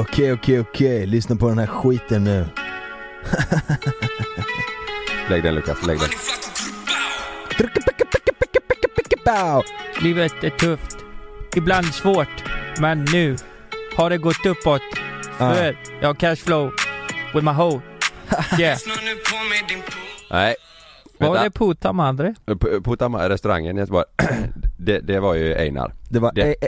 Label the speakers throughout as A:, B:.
A: Okej, okej, okej. Lyssna på den här skiten nu.
B: Lägg den Lukas, lägg den.
C: Livet är tufft. Ibland svårt. Men nu har det gått uppåt.
B: Ah.
A: Ah,
C: För jag har cashflow with my hoe. Yeah.
B: Nej.
C: Vad var
B: Vänta.
C: det pota med andra?
B: På, på Utama- restaurangen i Göteborg, det, det var ju Einar.
A: Det var
B: Det-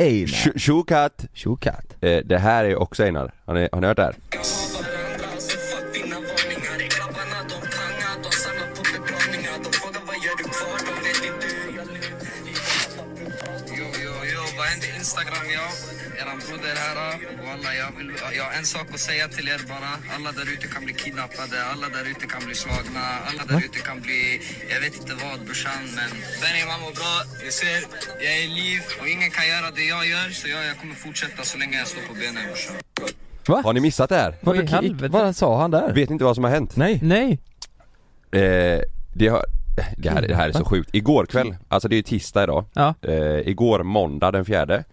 A: Einar.
B: Sh- Shukat!
A: Tjokat.
B: Eh, det här är också Einar. Har ni, har ni hört det här?
D: Instagram ja, eran broder här. Walla, jag, vill, jag har en sak att säga till er bara. Alla där ute kan bli kidnappade, alla där ute kan bli slagna, alla där ute kan bli, jag vet inte vad brorsan men. Benny man mår bra, du ser, jag är i liv och ingen kan göra det jag gör så jag, jag kommer fortsätta så länge jag står på benen brorsan.
B: Har ni missat det här?
C: Vad i helvete?
A: Vad sa han där?
B: Vet ni inte vad som har hänt?
A: Nej.
C: Nej.
B: Eh, det, har, det, här, det här är så sjukt. Igår kväll, alltså det är ju tisdag idag.
C: Ja.
B: Eh, igår måndag den fjärde.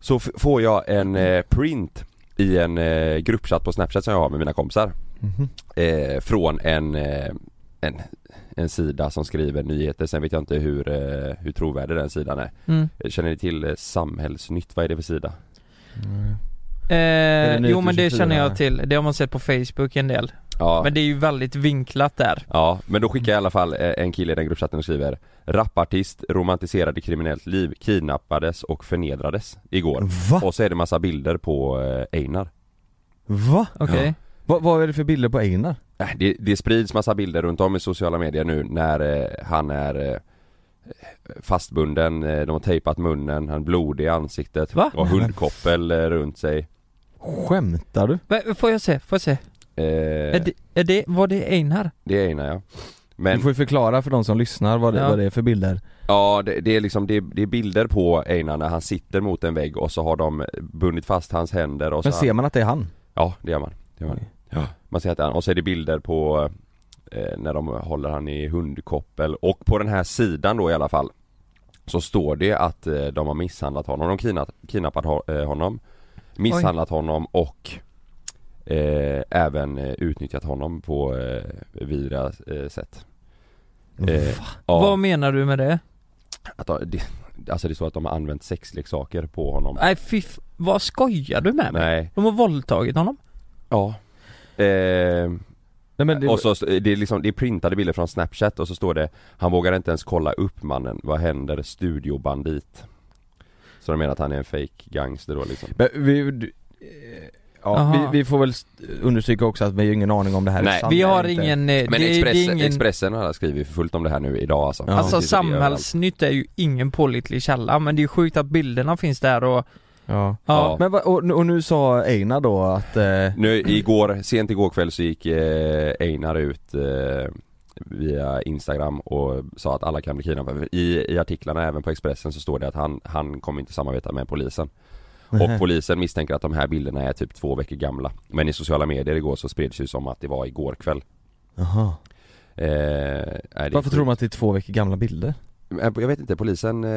B: Så f- får jag en eh, print i en eh, gruppchatt på Snapchat som jag har med mina kompisar.
A: Mm-hmm.
B: Eh, från en, eh, en, en sida som skriver nyheter. Sen vet jag inte hur, eh, hur trovärdig den sidan är.
C: Mm.
B: Eh, Känner ni till eh, Samhällsnytt? Vad är det för sida?
A: det
C: Eh,
A: nyheter
C: jo men det
A: 24?
C: känner jag till. Det har man sett på Facebook en del.
B: Ja.
C: Men det är ju väldigt vinklat där.
B: Ja, men då skickar jag i alla fall eh, en kille i den gruppchatten och skriver Rapartist romantiserade kriminellt liv, kidnappades och förnedrades igår
A: Va?
B: Och så är det massa bilder på eh, Einar
A: Va?
C: Okej.
A: Vad, vad är det för bilder på Einar?
B: Äh, det, det sprids massa bilder runt om i sociala medier nu när eh, han är eh, fastbunden, eh, de har tejpat munnen, han är blodig i ansiktet
C: Va?
B: och har hundkoppel eh, runt sig
A: Skämtar du?
C: Men Får jag se? Får jag se?
B: eh,
C: Är det, är det, var det Einar?
B: Det är Einar ja Men
A: Du får ju förklara för de som lyssnar vad det,
C: Ja.
A: vad det är för bilder.
B: Ja, det, det är liksom, det, är- det är bilder på Einar när han sitter mot en vägg och så har de bundit fast hans händer och så
A: Men ser man att det är han?
B: Ja, det gör man. Det gör man. Ja. man ser att han, och så är det bilder på eh, när de håller han i hundkoppel och på den här sidan då i alla fall så står det att eh, de har misshandlat honom, de kidnappat, kidnappat ho- eh, honom misshandlat honom och eh, även eh, utnyttjat honom på eh, vidriga eh, sätt. Eh, ja,
C: Vad menar du med det?
B: att de, det, alltså det är så att de har använt sexleksaker på honom.
C: Nej fy f- vad skojar du med mig?
B: Nej.
C: De har våldtagit honom?
B: Ja. Eh,
A: Nej men det,
B: Och så, det är liksom, det är printade bilder från snapchat och så står det Han vågar inte ens kolla upp mannen, vad händer studiobandit? Så de menar att han är en fake gangster då liksom
A: men vi, du- eh, ja,
C: Aha.
A: vi, vi får väl st- understryka också att vi har ju ingen aning om det här
B: Nej.
A: är sant
C: Vi
A: eller
C: har
A: inte.
C: ingen... eh,
B: Men
C: det,
B: Express,
C: det är ingen...
B: Expressen har skrivit för fullt om det här nu idag alltså
A: Ja.
C: Alltså
B: Det är överallt.
C: samhällsnytt är ju ingen pålitlig källa men det är ju sjukt att bilderna finns där och...
A: Ja.
B: Ja.
A: Men vad- och, nu- och nu sa Einar då att... Eh,
B: Nu igår, sent igår kväll så gick eh, Einar ut eh, via Instagram och sa att alla kan bli kidnappade. I, I artiklarna även på Expressen så står det att han, han kommer inte samarbeta med polisen.
A: Mhm.
B: Och polisen misstänker att de här bilderna är typ två veckor gamla. Men i sociala medier igår så spreds det ju som att det var igår kväll.
A: Jaha.
B: Eh, nej, det är
A: Varför
B: sjukt.
A: tror man att det är två veckor gamla bilder?
B: Eh, Jag vet inte, polisen, eh,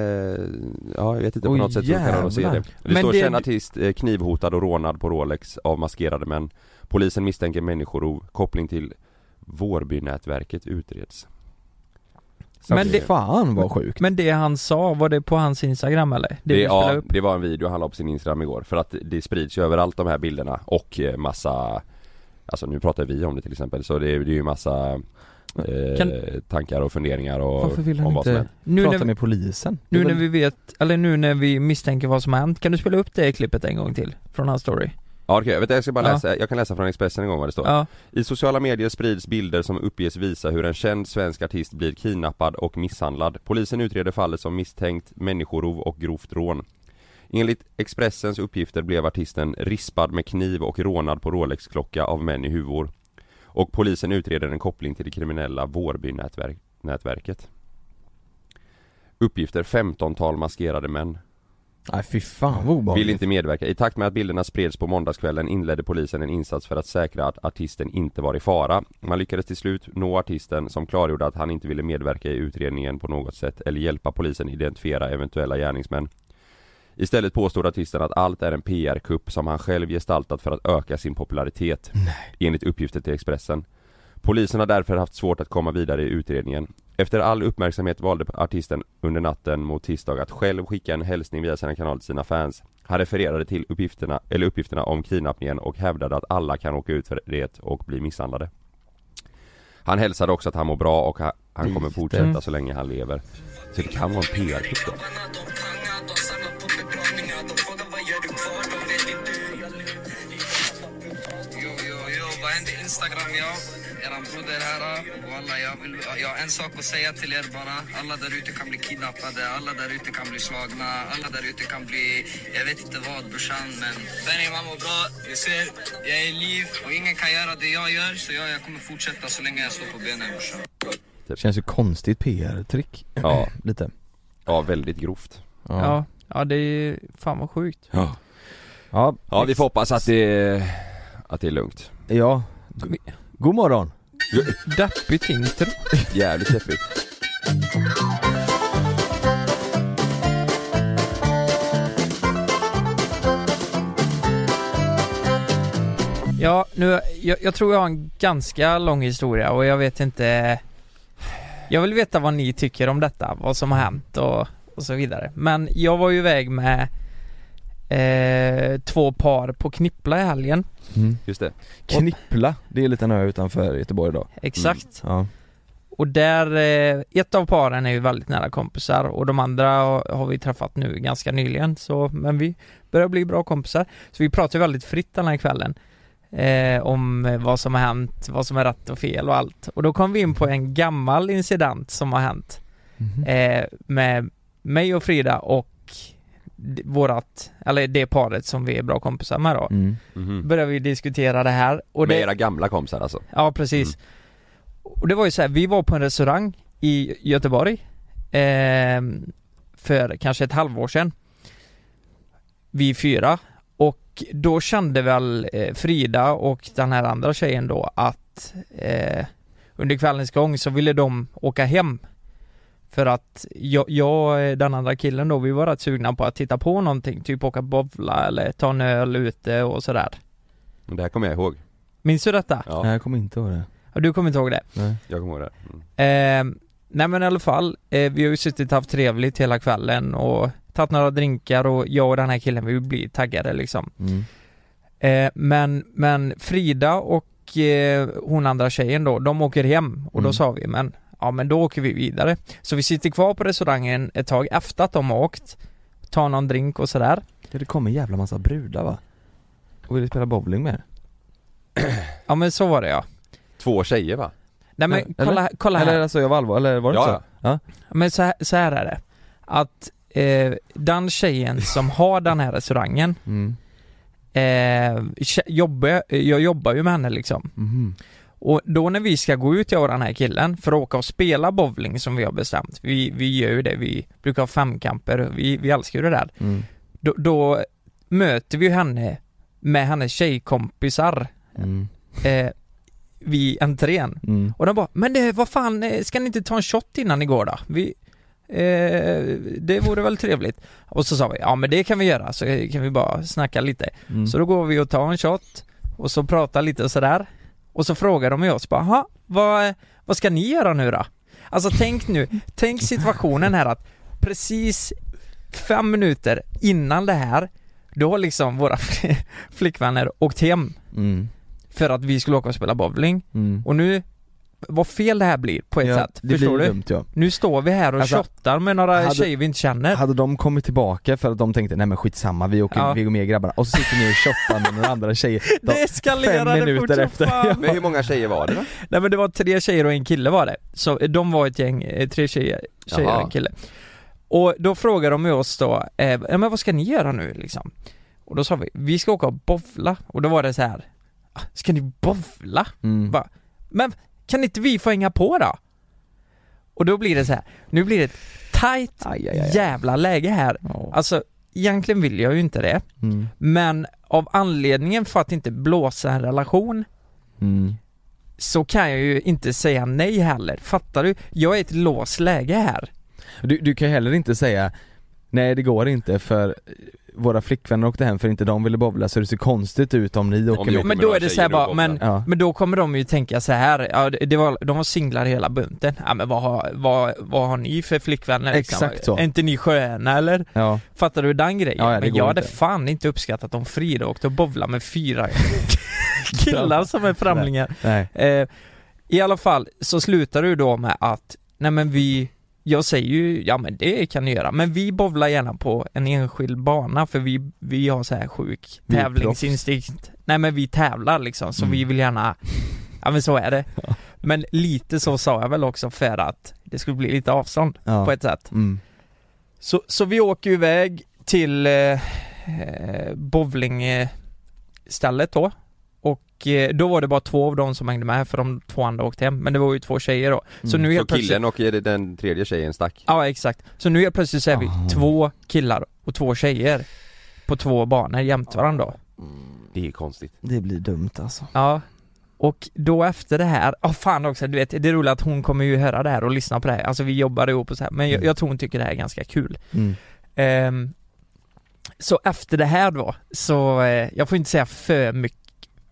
B: ja jag vet inte på
A: Oj,
B: något sätt hur kan de se det.
A: jävlar.
B: Det
C: Men
B: står
C: det-
B: känd artist eh, knivhotad och rånad på Rolex av maskerade män. Polisen misstänker människorov, koppling till Vårbynätverket utreds. Så
C: Men
B: det,
C: det-
B: det,
A: Fan vad sjukt.
C: Men det han sa, var det på hans instagram eller? Det, vi
B: ja,
C: spelade upp?
B: det var en video han la på sin Instagram igår för att det sprids ju överallt de här bilderna och eh, massa Alltså nu pratar vi om det till exempel så det, är- det är ju massa eh,
C: Kan-
B: tankar och funderingar och
A: Varför vill
B: om
A: han
B: vad som
A: inte
B: hänt.
C: Nu
A: prata
C: när, vi,
A: med polisen? Det är
C: nu när
A: väl-
C: vi vet, eller nu när vi misstänker vad som har hänt, kan du spela upp det klippet en gång till? Från hans story?
B: Ja okej, vänta, jag ska bara
C: Ja.
B: läsa, jag kan läsa från Expressen en gång vad det står.
C: Ja.
B: I sociala medier sprids bilder som uppges visa hur en känd svensk artist blir kidnappad och misshandlad. Polisen utreder fallet som misstänkt människorov och grovt rån. Enligt Expressens uppgifter blev artisten rispad med kniv och rånad på Rolex-klocka av män i huvor. Och polisen utreder en koppling till det kriminella Vårbynätverket. Uppgifter 15-tal maskerade män.
A: Nej fy fan vad obehagligt.
B: Vill inte medverka. I takt med att bilderna spreds på måndagskvällen inledde polisen en insats för att säkra att artisten inte var i fara. Man lyckades till slut nå artisten som klargjorde att han inte ville medverka i utredningen på något sätt eller hjälpa polisen identifiera eventuella gärningsmän. Istället påstår artisten att allt är en PR-kupp som han själv gestaltat för att öka sin popularitet, enligt uppgifter till Expressen. Polisen har därför haft svårt att komma vidare i utredningen. Efter all uppmärksamhet valde artisten under natten mot tisdag att själv skicka en hälsning via sina kanaler till sina fans. Han refererade till uppgifterna, eller uppgifterna om kidnappningen och hävdade att alla kan åka ut för det och bli misshandlade. Han hälsade också att han mår bra och ha- han kommer fortsätta så länge han lever. Så det kan vara en PR-kupp då.
D: Grabbarna de tangar, de samlar på betalningar De frågar vad gör du kvar, de vet inte hur jag lever Jo, jo, jo, vad händer Instagram ja? Eran broder här, walla jag vill, jag har en sak att säga till er bara Alla där ute kan bli kidnappade, alla där ute kan bli slagna Alla där ute kan bli, jag vet inte vad brorsan men Benny man mår bra, du ser, jag är i liv och ingen kan göra det jag gör Så jag, jag kommer fortsätta så länge jag står på benen brorsan
A: Känns ju konstigt PR-trick.
B: Ja,
A: Lite.
B: ja väldigt grovt.
A: Ja.
C: Ja, ja det är fan vad sjukt.
B: Ja,
A: Ja.
B: vi får hoppas att det, att det är lugnt.
A: ja. God, god morgon.
C: Deppigt intro.
B: Jävligt deppigt.
C: Ja, nu, jag, jag tror jag har en ganska lång historia och jag vet inte Jag vill veta vad ni tycker om detta, vad som har hänt och, och så vidare Men jag var ju iväg med eh, två par på Knippla i helgen
A: Mm.
B: Just det.
A: Knippla, det är en liten ö utanför Göteborg idag.
C: Exakt
A: Ja.
C: Och där, eh, ett av paren är ju väldigt nära kompisar och de andra har, har vi träffat nu ganska nyligen så, men vi börjar bli bra kompisar Så vi pratar ju väldigt fritt den här kvällen eh, Om eh, vad som har hänt, vad som är rätt och fel och allt Och då kom vi in på en gammal incident som har hänt
B: Mm.
C: eh, Med mig och Frida och d- vårat, eller det paret som vi är bra kompisar med då
A: Mm.
B: Mhm.
C: Börjar vi diskutera det här och det,
B: Med era gamla kompisar alltså?
C: Ja precis Och det var ju så här, vi var på en restaurang i Göteborg ehm, För kanske ett halvår sedan Vi fyra Och då kände väl eh, Frida och den här andra tjejen då att eh, Under kvällens gång så ville de åka hem För att jag, jag, eh, den andra killen då, vi var rätt sugna på att titta på någonting Typ åka bowla eller ta en öl ute och sådär
B: Men Det här kommer jag ihåg.
C: Minns du detta?
A: Nej
B: Ja,
A: jag kommer inte ihåg det.
C: Ja. Du kommer inte ihåg det?
A: Nej.
B: jag kommer ihåg det. Mm.
C: Eh, nej men i alla fall, eh, vi har ju suttit och haft trevligt hela kvällen och tagit några drinkar och jag och den här killen vi blir taggade liksom.
A: Mm.
C: Eh, men, men Frida och eh, hon andra tjejen då, de åker hem och
A: Mm.
C: då sa vi men ja men då åker vi vidare. Så vi sitter kvar på restaurangen ett tag efter att de har åkt, tar någon drink och sådär.
A: Ja, det kom en jävla massa brudar va? Och ville spela bowling med er.
C: Ja men så var det ja.
B: Två tjejer va?
C: Nej men
A: Eller?
C: kolla, här- kolla här.
A: Eller alltså jag var allvar, eller var det
B: Ja,
A: inte så? Ja.
C: Men så här, så här är det. Att eh, den tjejen som har den här restaurangen
A: Mm.
C: eh, tje- jobba, jag jobbar ju med henne liksom.
A: Mhm.
C: Och då när vi ska gå ut, jag och den här killen, för att åka och spela bowling som vi har bestämt. Vi, vi gör ju det, vi brukar ha femkamper, vi, vi älskar ju det där.
A: Mm.
C: Då, då möter vi ju henne med hennes tjejkompisar
A: Mm.
C: eh, vid entrén.
A: Mm.
C: Och de bara, men det, vad fan, eh, ska ni inte ta en shot innan ni går då? Vi, eh, det vore väl trevligt. Och så sa vi, ja men det kan vi göra, så eh, kan vi bara snacka lite.
A: Mm.
C: Så då går vi och tar en shot och så pratar lite och sådär. Och så frågar de ju oss bara, "Jaha, vad, vad ska ni göra nu då? Alltså tänk nu, tänk situationen här att precis fem minuter innan det här, då har liksom våra flickvänner åkt hem
A: Mm.
C: för att vi skulle åka och spela bowling.
A: Mm.
C: Och nu, vad fel det här blir på ett
A: Ja,
C: sätt,
A: det
C: förstår
A: blir
C: du?
A: dumt ja.
C: Nu står vi här och
A: Alltså,
C: shottar med några
A: hade-
C: tjejer vi inte känner.
A: Hade de kommit tillbaka för att de tänkte nej men skitsamma, vi åker,
C: Äh. Ja.
A: vi går med grabbarna och så sitter ni och shottar med några andra tjejer de,
C: det eskalerade
A: fem minuter
C: fort som
A: efter.
C: fan.
B: Men hur många tjejer var det då?
C: Nej men det var tre tjejer och en kille var det. Så eh, de var ett gäng, eh, tre tjejer, tjejer och
B: Jaha.
C: en kille. Och då frågade de ju oss då, eh, ja men vad ska ni göra nu liksom? Och då sa vi, vi ska åka och bowla. Och då var det så här, "Ah, ska ni bowla?
A: mm.
C: Va? Men kan inte vi få hänga på då? Och då blir det så här, nu blir det ett tajt
A: Aj, aj, aj.
C: jävla läge här.
A: Ja.
C: Alltså egentligen vill jag ju inte det,
A: Mm.
C: men av anledningen för att inte blåsa en relation
A: Mm.
C: så kan jag ju inte säga nej heller, fattar du? Jag är i ett låst läge här.
A: Du, du kan ju heller inte säga
E: Nej det går inte för eh, våra flickvänner åkte hem för inte de ville bowla så det ser konstigt ut om ni åker
B: ni
E: med.
B: åker
C: Men
B: med
C: då
B: några
C: är det så här
B: tjejer och
C: bara,
B: bowlar.
C: men,
E: Ja.
C: men då kommer de ju tänka så här, ja, det det var, de var singlar hela bunten, ja men vad har, vad, vad har ni för flickvänner liksom?
E: Exakt så.
C: Är inte ni sköna eller?
E: Ja.
C: Fattar du den grejen?
E: Ja, ja, det
C: men
E: går
C: jag hade
E: inte.
C: fan inte uppskattat om Frida åkte och bowlade med fyra killar som är främlingar
E: Nej.
C: Eh, I alla fall så slutar du då med att, nej men vi, jag säger ju, ja men det kan ni göra, men vi bovlar gärna på en enskild bana för vi, vi har så här sjuk
E: Vi är
C: tävlingsinstinkt. Nej men vi tävlar liksom, så
E: Mm.
C: vi vill gärna, ja men så är det. Men lite så sa jag väl också för att det skulle bli lite avstånd
E: Ja.
C: på ett sätt.
E: Mm.
C: Så, så vi åker ju iväg till eh, eh, bowlingstället då och eh, då var det bara två av dem som hängde med för de två andra åkte hem men det var ju två tjejer då. Så
E: Mm.
C: nu
B: Så
C: helt plötsligt
B: killen och eh, den tredje tjejen stack?
C: Ja exakt. Så nu helt plötsligt så är vi
E: Ah.
C: två killar och två tjejer på två banor jämte varandra då.
B: Det är konstigt
E: Mm. Det blir dumt alltså.
C: Ja. Och då efter det här, ja fan också, du vet det är roligt att hon kommer ju höra det här och lyssna på det här. Alltså vi jobbar ihop och så här men jag, jag tror hon tycker det här är ganska kul.
E: Mm.
C: Ehm, så efter det här då, så eh, jag får inte säga för mycket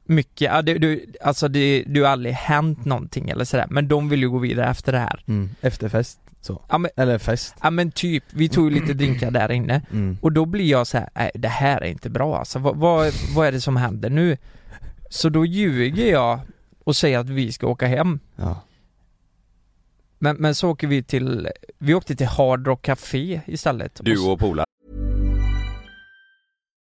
C: mycket, ja, det, du, alltså det, det har aldrig hänt någonting eller sådär, men de vill ju gå vidare efter det här.
E: Mm. Efterfest.
C: Ja men,
E: Eller fest.
C: ja, men typ, vi tog ju lite drinkar där inne
E: Mm.
C: och då blir jag så här, nej det här är inte bra alltså, vad, vad, vad är det som händer nu? Så då ljuger jag och säger att vi ska åka hem.
E: Ja.
C: Men, men så åker vi till, vi åkte till Hard Rock Café istället. Och så-
B: Du och polaren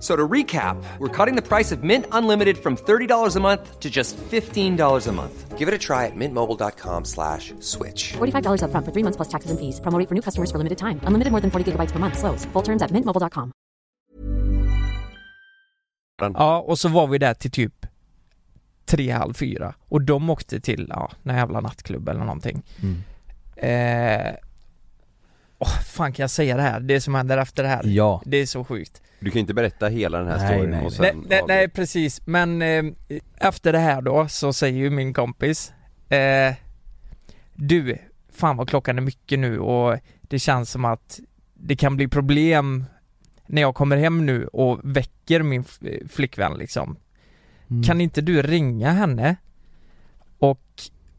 F: So to recap, we're cutting the price of Mint Unlimited from $30 a month to just $15 a month. Give it a try at mintmobile.com slash switch.
G: $45 up front for three months plus taxes and fees. Promo rate for new customers for limited time. Unlimited more than 40 gigabytes per month. Slows. Full terms at mintmobile.com.
C: Ja, och så var vi där till typ tre, halv fyra och de åkte till, ja, någon jävla nattklubb eller någonting.
E: Mm.
C: Eh, åh, fan kan jag säga det här? Det som händer efter det här.
E: Ja.
C: Det är så sjukt.
B: Du kan ju inte berätta hela den här
E: Nej,
B: storyn
E: nej,
B: och sen
C: Nej, nej,
B: avbryta.
C: nej precis, men eh, efter det här då så säger ju min kompis eh, Du, fan vad klockan är mycket nu och det känns som att det kan bli problem när jag kommer hem nu och väcker min f- flickvän liksom
E: Mm.
C: Kan inte du ringa henne och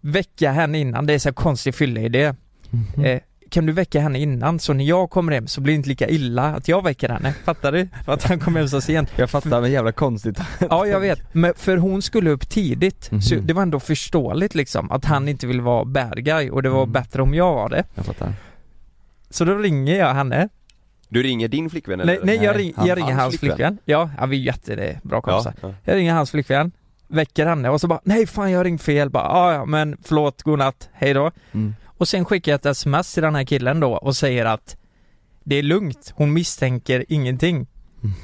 C: väcka henne innan? Det är så här konstig fylleidé
E: Mm.
C: eh, Kan du väcka henne innan? Så när jag kommer hem så blir det inte lika illa att jag väcker henne, fattar du? För att han kommer hem så sent
E: Jag fattar men jävla konstigt.
C: Ja jag vet, men för hon skulle upp tidigt
E: Mhm.
C: så det var ändå förståeligt liksom att han inte ville vara bad guy och det var
E: Mm.
C: bättre om jag var det.
E: Jag fattar.
C: Så då ringer jag henne.
B: Du ringer din flickvän
C: Nej,
B: eller?
C: nej, jag,
E: Nej,
C: ring,
E: han-
C: jag ringer
B: hans
C: hans,
B: flickvän.
C: flickvän. Ja, ja, vi är jättebra kompisar.
B: ja, ja.
C: Jag ringer hans flickvän, väcker henne och så bara nej fan jag har ringt fel bara "Ja, ja men förlåt, godnatt, hejdå.
E: Mm.
C: Och sen skickar jag ett sms till den här killen då och säger att det är lugnt, hon misstänker ingenting.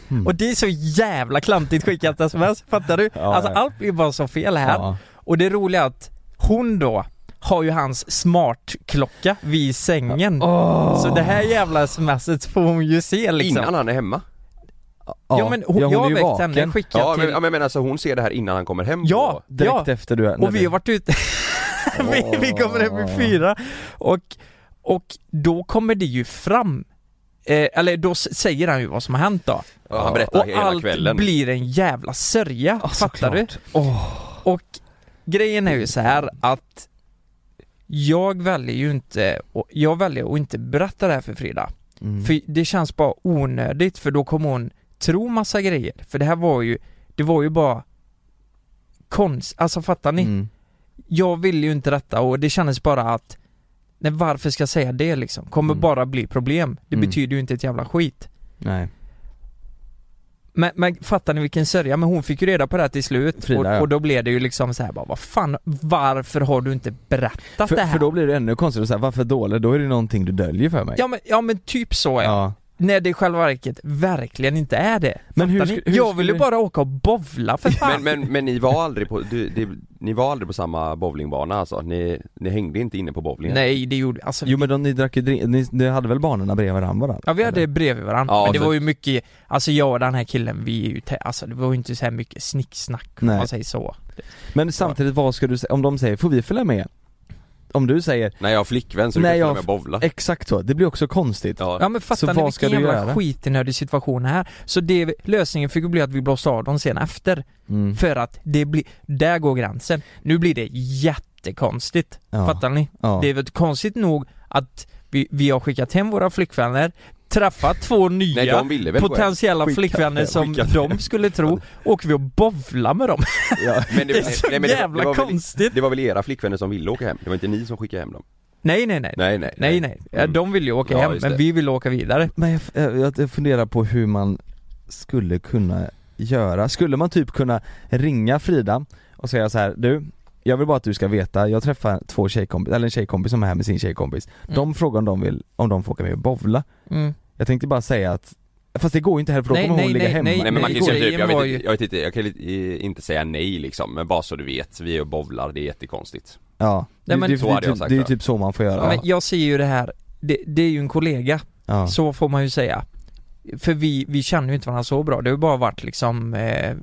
E: Mhm.
C: Och det är så jävla klantigt skickat sms, fattar du?
E: Ja,
C: alltså
E: ja.
C: allt blir bara så fel här.
E: Ja.
C: Och det roliga är att hon då har ju hans smartklocka vid sängen. Så det här jävla smset får hon ju se liksom.
B: Innan han är hemma?
C: ja, men hon, jag
E: är
C: har
E: ju
C: väckt
E: vaken.
C: henne, skickat
B: Ja men,
C: till...
B: ja men jag menar så hon ser det här innan han kommer hem
C: ja,
B: då?
E: Direkt
C: ja.
E: efter du är... när
C: Och vi har varit ute, vi, vi kommer hem vid fyra och, och då kommer det ju fram Eh, eller då s- säger han ju vad som har hänt då.
B: Ja, han berättar
C: och
B: hela
C: allt
B: kvällen
C: blir en jävla sörja, fattar du? Och grejen är ju så här att jag väljer ju inte, och jag väljer att inte berätta det här för Frida.
E: Mm.
C: För det känns bara onödigt för då kommer hon tro massa grejer. För det här var ju, det var ju bara konst, alltså fattar ni?
E: Mm.
C: Jag vill ju inte detta och det kändes bara att Nej varför ska jag säga det liksom? Kommer
E: Mm.
C: bara bli problem. Det
E: Mm.
C: betyder ju inte ett jävla skit.
E: Nej.
C: Men, men fattar ni vilken sörja? Men hon fick ju reda på det här till slut
E: Frida,
C: och,
E: ja.
C: och då blev det ju liksom så här bara, vad fan, varför har du inte berättat
E: För,
C: det här?
E: för då blir det ännu konstigare såhär, varför dålig? Då är det någonting du döljer för mig.
C: ja, men, ja men typ så ja.
E: ja.
C: När det i själva verket verkligen inte är det.
E: Men hur
C: Fattar
E: sku-
C: ni?
E: hur
C: jag ville
E: skulle-
C: bara åka och bovla för
B: Men,
C: fan.
B: men, men ni var aldrig på, du, det, ni var aldrig på samma bowlingbana alltså? Ni, ni hängde inte inne på bowlingen?
C: Nej det gjorde, alltså
E: Jo men de, ni drack ju drink, ni, ni hade väl barnen bredvid varandra?
C: Ja vi hade bredvid varandra,
B: Ja,
C: men det
B: så-
C: var ju mycket, alltså jag och den här killen vi är ju, te- alltså det var ju inte så här mycket snicksnack om
E: Nej.
C: man säger så
E: Men samtidigt, vad ska du säga, om de säger 'Får vi följa med?' Om du säger
B: Nej jag har flickvän så du
E: Nej,
B: kan
E: jag
B: följa
E: har
B: med och bowla?
E: exakt så, det blir också konstigt
B: Ja.
C: Ja men
E: Så
C: fattar ni
E: vad ska
C: vilken
E: du
C: jävla
E: göra?
C: skitnödig situation här? Så det, lösningen fick ju bli att vi blåste av dem sen efter,
E: mm.
C: för att det blir, där går gränsen Nu blir det jättekonstigt,
E: Ja.
C: fattar ni?
E: ja.
C: Det är väl konstigt nog att vi, vi har skickat hem våra flickvänner Träffat två nya
B: Nej de ville väl själv.
C: potentiella
B: Skicka-
C: flickvänner som
B: skicka-
C: de skulle tro, åker vi och bovlar med dem
E: ja.
B: Men
C: Det är så
B: men det-
C: jävla
B: det var väl-
C: konstigt.
B: Det var väl era flickvänner som ville åka hem? Det var inte ni som skickade hem dem?
C: Nej nej nej,
B: Nej nej
C: nej nej, Ja,
B: Mm.
C: de vill ju åka
B: Ja,
C: hem
B: just det.
C: men vi vill åka vidare
E: Men jag, jag, jag funderar på hur man skulle kunna göra, skulle man typ kunna ringa Frida och säga så här, du jag vill bara att du ska veta, jag träffar två tjejkompis, eller en tjejkompis som är här med sin tjejkompis De
C: Mm.
E: frågar om de vill, om de får åka med och bowla
C: mm.
E: Jag tänkte bara säga att, fast det går ju inte heller för då
C: Nej,
E: kommer hon
C: nej,
E: ligga
C: nej,
E: hemma
B: Nej men man
C: Nej,
B: kan ju säga
C: grejen
B: typ, jag vet,
C: var
B: inte-
C: ju-
B: jag vet inte, jag kan li- eh, inte säga nej liksom, men bara så du vet, vi är och bowlar, det är jättekonstigt
E: Ja,
C: Nej,
E: det,
C: men-
E: det,
B: Så
E: det,
B: hade jag
E: det,
B: sagt
E: det är ju
B: då.
E: typ så man får göra
C: Men jag ser ju det här, det, det är ju en kollega,
E: ja.
C: så får man ju säga För vi, vi känner ju inte varandra så bra, det har ju bara varit liksom, eh, eh,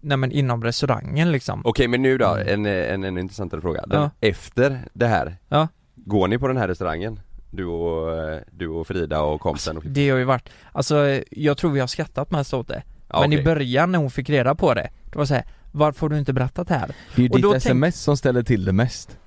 C: nej men inom restaurangen liksom
B: Okej men nu då, en, eh, en, en intressantare fråga. Den,
C: Ja.
B: Efter det här,
C: Ja.
B: går ni på den här restaurangen? Du och, eh, du och Frida och kompisen? och
C: Det har ju varit, alltså eh, jag tror vi har skrattat mest åt det
B: Ja,
C: Men i
B: okej.
C: början när hon fick reda på det, det var så här, varför har du inte berättat det här?
E: Det är ju
C: Och då
E: ditt
C: tänk-
E: sms som ställer till det mest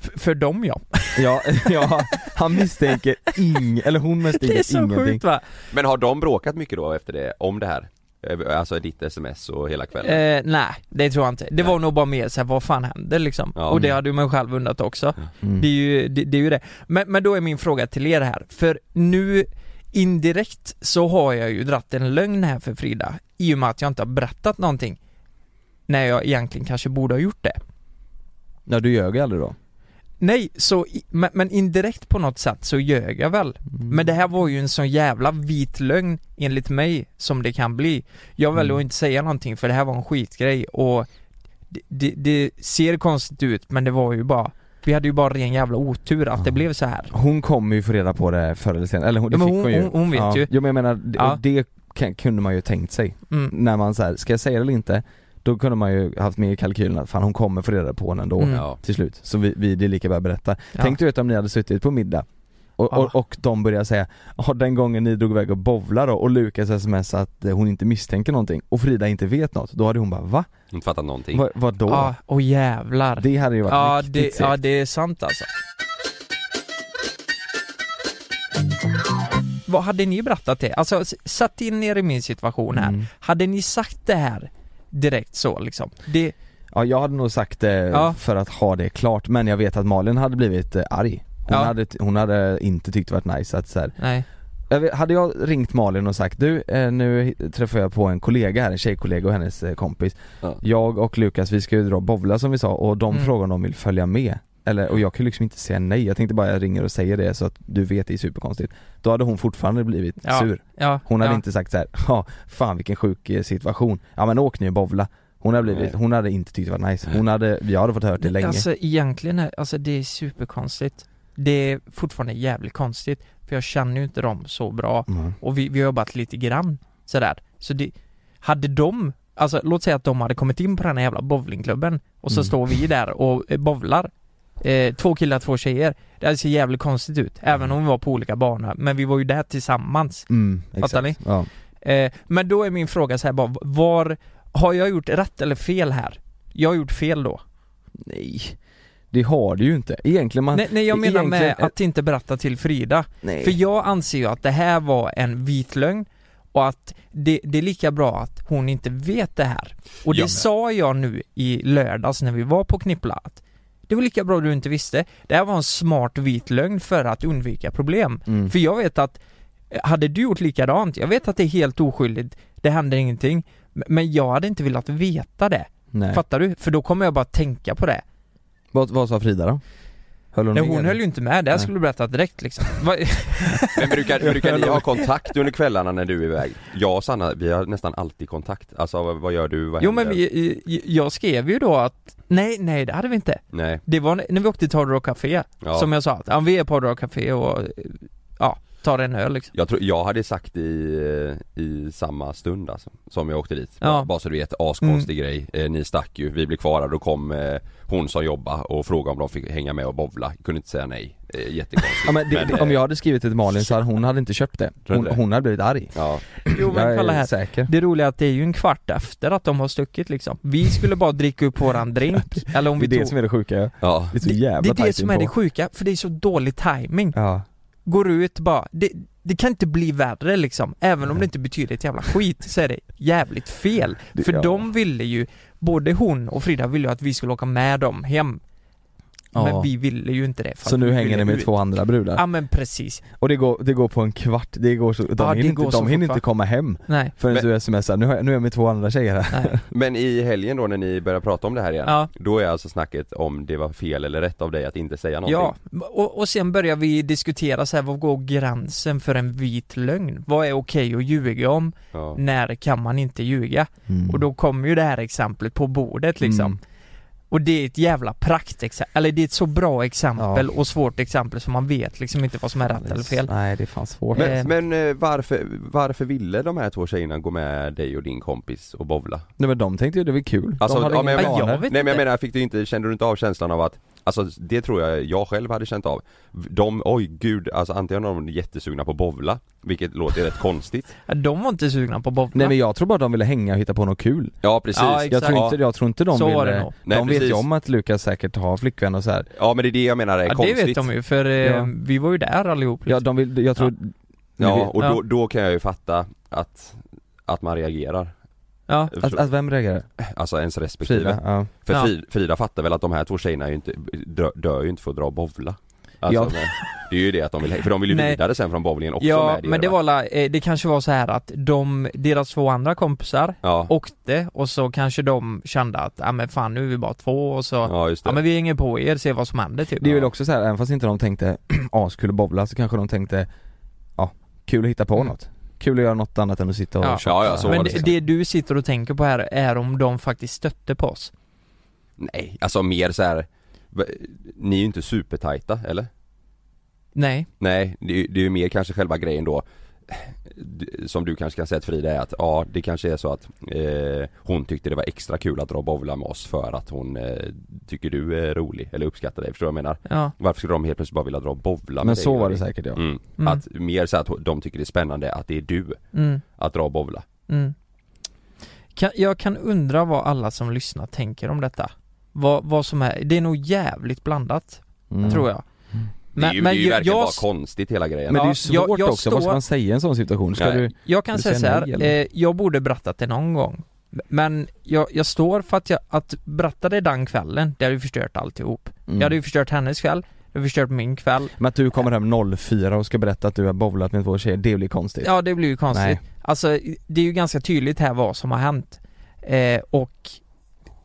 C: F- för dem ja,
E: Ja, ja han misstänker ing, eller hon
C: det är
E: misstänker
C: så
E: ingenting
C: sjukt va?
B: Men har de bråkat mycket då efter det, om det här? Eh, Alltså ditt sms och hela kvällen?
C: Eh, nej, det tror jag inte. Det
B: Nej.
C: var nog bara mer såhär, vad fan händer liksom?
B: Ja,
C: och det
B: mm.
C: hade ju man själv undrat också.
E: Mm.
C: Det, är ju, det, det är ju det. Men, men då är min fråga till er här, för nu indirekt så har jag ju dratt en lögn här för Frida, i och med att jag inte har berättat någonting. När jag egentligen kanske borde ha gjort det.
E: Ja du ljög ju aldrig då
C: Nej, så, i- men, men indirekt på något sätt så ljög jag väl.
E: Mm.
C: Men det här var ju en sån jävla vit lögn enligt mig som det kan bli. Jag väljer
E: Mm.
C: att inte säga någonting för det här var en skitgrej och det, det, det ser konstigt ut men det var ju bara vi hade ju bara ren jävla otur att det blev så här.
E: Hon kommer ju få reda på det förr eller senare, eller hon, det
C: Ja,
E: fick
C: men hon-
E: hon ju
C: hon- hon vet
E: ja.
C: ju.
E: Jo men jag menar, det,
C: Ja.
E: det kan, kunde man ju tänkt sig
C: Mm.
E: När man så här, ska jag säga det eller inte? Då kunde man ju haft med i kalkylen att fan hon kommer få reda på henne ändå
C: Mm.
B: Ja.
E: till slut Så vi, vi, det är lika bra att berätta
C: Ja.
E: Tänk du vet om ni hade suttit på middag och,
C: Ja.
E: och, och de börjar säga ja den gången ni drog iväg och bowlade då och Lukas sms att eh, hon inte misstänker någonting och Frida inte vet något, då hade hon bara va?
B: Inte fattat någonting?
E: Va vad då?
C: Ja, åh jävlar.
E: Det hade ju varit
C: ja,
E: riktigt
C: det,
E: segt.
C: ja, det är sant alltså. Vad hade ni berättat det? Alltså, s- satt in er i min situation här.
E: Mm.
C: Hade ni sagt det här direkt så liksom? Det,
E: Ja jag hade nog sagt det
C: Ja.
E: för att ha det klart men jag vet att Malin hade blivit eh, arg hon,
C: Ja.
E: hade, hon hade inte tyckt det varit nice att så här.
C: nej.
E: Jag vet, Hade jag ringt Malin och sagt du, eh, nu hi- träffar jag på en kollega här, en tjejkollega och hennes eh, kompis
B: Ja.
E: Jag och Lukas vi ska ju dra och bowla som vi sa och de
C: Mm.
E: frågar om de vill följa med eller, och jag kan ju liksom inte säga nej, jag tänkte bara jag ringer och säger det så att du vet det är superkonstigt Då hade hon fortfarande blivit
C: Ja.
E: sur
C: Ja,
E: Hon hade
C: ja.
E: inte sagt så här, ja fan vilken sjuk eh, situation, ja men åk ni och bowla Hon hade blivit,
B: Nej.
E: hon hade inte tyckt det var nice, hon hade, jag hade fått hört det länge
C: Alltså egentligen, är, alltså det är superkonstigt. Det är fortfarande jävligt konstigt, för jag känner ju inte dem så bra.
E: mm.
C: Och vi, vi har jobbat lite grann sådär. Så det, hade de, alltså låt säga att de hade kommit in på den här jävla bowlingklubben och så
E: Mm.
C: står vi där och eh, bowlar. Eh, två killar, två tjejer. Det hade sett jävligt konstigt ut, även om vi var på olika banor. Men vi var ju där tillsammans.
E: Mm,
C: Fattar
E: exakt. Ja.
C: Eh, men då är min fråga så här bara, var, har jag gjort rätt eller fel här? Jag har gjort fel då.
E: Nej, det har du ju inte. Egentligen man...
C: nej, nej, jag menar med
E: egentligen-
C: att inte berätta till Frida.
E: Nej.
C: För jag anser ju att det här var en vit lögn och att det, det är lika bra att hon inte vet det här. Och det
B: Ja, men-
C: sa jag nu i lördags när vi var på Knippla att det var lika bra du inte visste. Det här var en smart vit lögn för att undvika problem.
E: Mm.
C: För jag vet att, eh, hade du gjort likadant, jag vet att det är helt oskyldigt, det händer ingenting, m- men jag hade inte velat veta det.
E: Nej.
C: Fattar du? För då kommer jag bara tänka på det.
E: Vad, vad sa Frida då? Höll hon
C: Nej,
E: med
C: hon
E: dig?
C: höll ju inte med, det här
E: Nej.
C: skulle du berätta direkt liksom Va-
B: Men brukar, brukar ni ha kontakt under kvällarna när du är iväg? Jag och Sanna, vi har nästan alltid kontakt. Alltså vad, vad gör du? Vad
C: Jo men
B: händer?
C: vi, jag skrev ju då att Nej, nej det hade vi inte
B: Nej.
C: Det var när vi åkte till Hard Rock Café
B: Ja.
C: Som jag sa, att ja, vi är på Hard Rock Café och Ja, tar en öl liksom
B: Jag tror, jag hade sagt i, eh, i samma stund alltså, som jag åkte dit.
C: Ja. Mm.
B: Bara- Bara så du vet, askonstig grej. Eh, ni stack ju, vi blev kvar där, då kom eh, hon som jobbade och frågade om de fick hänga med och bowla. Kunde inte säga nej. Eh, jättekonstigt.
E: Ja, men det,
B: Men,
E: det, om
B: eh,
E: jag hade skrivit det till Malin så hade hon hade inte köpt det.
B: Tror du
E: Hon,
B: det?
E: hon hade blivit arg.
B: eh, Ja,
C: Jo
E: jag
C: men kolla
E: är
C: här
E: säker.
C: Det roliga är att det är ju en kvart efter att de har stuckit liksom Vi skulle bara dricka upp våran drink, eller om
E: Det
C: vi
E: är det
C: tog
E: som är det sjuka. ja.
B: ja.
E: Det är så
C: det,
E: jävla
C: det är det
E: tajt
C: som är det
E: inpå.
C: sjuka, för det är så dålig timing
E: Ja.
C: Går ut bara, det, det kan inte bli värre liksom Även om det inte betyder ett jävla skit så är det jävligt fel
E: Det-
C: För
E: ja.
C: de ville ju, både hon och Frida ville ju att vi skulle åka med dem hem
E: Ja.
C: Men vi ville ju inte det för
E: Så
C: att
E: nu
C: vi
E: hänger
C: ville
E: ni med
C: ut.
E: två andra brudar?
C: Ja men precis,
E: Och det går, det går på en kvart, det går så, de
C: Ja, det
E: hinner, inte,
C: går så
E: de hinner
C: fort, va?
E: inte komma hem
C: nej,
E: förrän
B: Men-
E: du smsar, nu, har jag- nu är jag med två andra tjejer här.
C: nej
B: Men i helgen då när ni börjar prata om det här igen,
C: Ja.
B: då är alltså snacket om det var fel eller rätt av dig att inte säga någonting.
C: Ja, och, och sen börjar vi diskutera så här, vad går gränsen för en vit lögn? Vad är okej att ljuga om?
B: Ja.
C: När kan man inte ljuga?
E: Mm.
C: Och då kommer ju det här exemplet på bordet liksom
E: Mm.
C: Och det är ett jävla praktexempel, eller det är ett så bra exempel och svårt exempel som man vet liksom inte vad som är rätt eller fel
E: Nej det är fan svårt.
C: Eh.
B: Men, men eh, varför, varför ville de här två tjejerna gå med dig och din kompis och bowla?
E: Nej men de tänkte ju det var kul.
B: Alltså,
E: de hade
B: ja,
E: inga
B: men jag-
E: planer.
C: Jag vet
B: Nej men jag
C: inte.
B: menar, fick du inte, kände du inte av känslan av att Alltså det tror jag jag själv hade känt av De, oj gud, alltså antingen är de jättesugna på att bowla Vilket låter rätt konstigt
C: De var inte sugna på bowla
E: Nej men jag tror bara de ville hänga och hitta på något kul.
B: Ja precis,
C: Ja,
B: ja,
C: exakt.
E: Jag tror inte, jag tror inte de
C: Så
E: ville...
C: var det nog.
B: Nej,
E: de vet ju
B: precis.
E: om att Lukas säkert har flickvän och så här.
B: men det är det jag menar är
C: Ja det
B: konstigt
C: vet de ju för eh,
E: Ja.
C: vi var ju där allihop
E: Ja
C: liksom.
E: de vill, jag tror...
B: Ja och
C: Ja.
B: Då, då kan jag ju fatta att, att man reagerar
C: ja.
E: Att, att vem reagerar?
B: Alltså ens respektive
E: Frida? Ja.
B: För
C: Ja.
B: Fri- Frida fattar väl att de här två tjejerna är ju inte, dö, dör ju inte för att dra och bowla alltså,
E: Ja.
B: men Det är ju det att de vill, för de vill ju
C: Nej.
B: vidare sen från bowlingen också
C: Ja,
B: med
C: men det
B: va?
C: var la- eh, det kanske var så här att de, deras två andra kompisar
B: Ja,
C: åkte och så kanske de kände att ja men fan nu är vi bara två och så ja,
B: ja just det
C: men vi hänger på er, ser vad som händer typ
E: Det är väl också så här, även fast inte de tänkte askul att bowla så kanske de tänkte ja, kul att hitta på något. Kul att göra något annat än att sitta och
C: Ja.
E: tjata.
B: Ja, ja, så var
C: Men
B: det
E: liksom.
C: det, det du sitter och tänker på här är om de faktiskt stötte på oss
B: Nej, alltså mer så här. v- Ni är ju inte supertajta, eller?
C: Nej,
B: Nej, det, är ju- det är ju mer kanske själva grejen då d- Som du kanske kan säga till Frida är att ja, det kanske är så att eh, Hon tyckte det var extra kul att dra och bowla med oss för att hon eh, Tycker du är rolig, eller uppskattar dig, förstår du vad jag menar?
C: ja,
B: Varför skulle de helt plötsligt bara vilja dra och bowla med
E: Men
B: dig?
E: så var det säkert ja.
B: Mm.
C: Mm.
B: Att mer så här att de tycker det är spännande att det är du
C: mm,
B: att dra och bowla
C: mm. Kan, Jag kan undra vad alla som lyssnar tänker om detta vad, vad som är, det är nog jävligt blandat,
E: Mm.
C: tror jag
E: Mm.
B: Det är ju, det är ju verkligen bara
C: s-
B: konstigt hela grejen
E: Men det är
C: Ja,
E: ju svårt
C: jag- jag
E: också, vad ska
C: står-
E: man säga i en sån situation? Ska
B: Nej.
E: du...
C: Jag kan
E: Du
C: säga så
E: säger
C: här,
E: nej, eller?
C: eh, jag borde berättat det någon gång Men jag, jag står för att jag, att berätta det den kvällen, det hade ju förstört alltihop
E: Mm.
C: Jag hade ju förstört hennes kväll, det hade förstört min kväll
E: Men att du kommer hem 04 och ska berätta att du har bowlat med två tjejer, det blir konstigt.
C: Ja det blir ju konstigt
E: Nej.
C: Alltså det är ju ganska tydligt här vad som har hänt eh, Och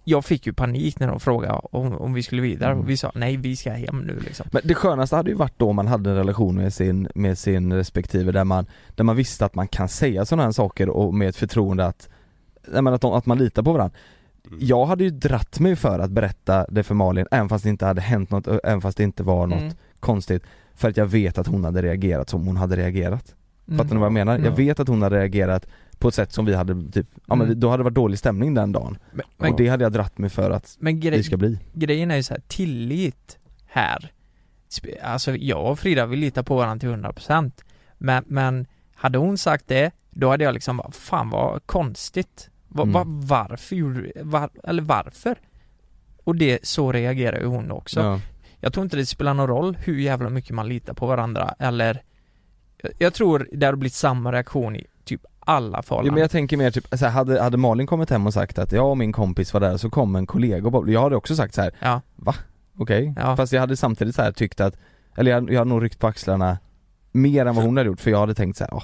C: jag fick ju panik när de frågade om, om vi skulle vidare
E: Mm.
C: och vi sa nej vi ska hem nu liksom
E: Men det skönaste hade ju varit då man hade en relation med sin, med sin respektive där man, där man visste att man kan säga sådana här saker och med ett förtroende att, nej men att, de, att man litar på varandra. Jag hade ju dratt mig för att berätta det för Malin även fast det inte hade hänt något, ö- även fast det inte var något
C: Mm.
E: konstigt. För att jag vet att hon hade reagerat som hon hade reagerat.
C: Mm.
E: Fattar ni vad jag menar?
C: Mm.
E: Jag vet att hon hade reagerat på ett sätt som vi hade typ, ja men
C: Mm.
E: vi- då hade det varit dålig stämning den dagen.
C: Men,
E: och
C: men,
E: det hade jag dratt mig för att vi
C: men grej,
E: ska bli.
C: grejen är ju så här, tillit här sp- Alltså jag och Frida vi litar på varandra till 100% men, men hade hon sagt det, då hade jag liksom bara, fan vad konstigt va, va,
E: Mm.
C: Varför gjorde du- var, eller varför? Och det, så reagerar ju hon också
E: Ja.
C: Jag tror inte det spelar någon roll hur jävla mycket man litar på varandra eller Jag- Jag tror det har blivit samma reaktion i typ alla
E: Jo,
C: förhållanden
E: men jag tänker mer typ, så här, hade, hade Malin kommit hem och sagt att jag och min kompis var där så kom en kollega och bara- jag hade också sagt så här,
C: Ja.
E: va? Okej?
C: Ja.
E: Fast jag hade samtidigt så här tyckt att, eller jag, jag hade nog ryckt på axlarna mer än vad hon hade gjort för jag hade tänkt så här, ja,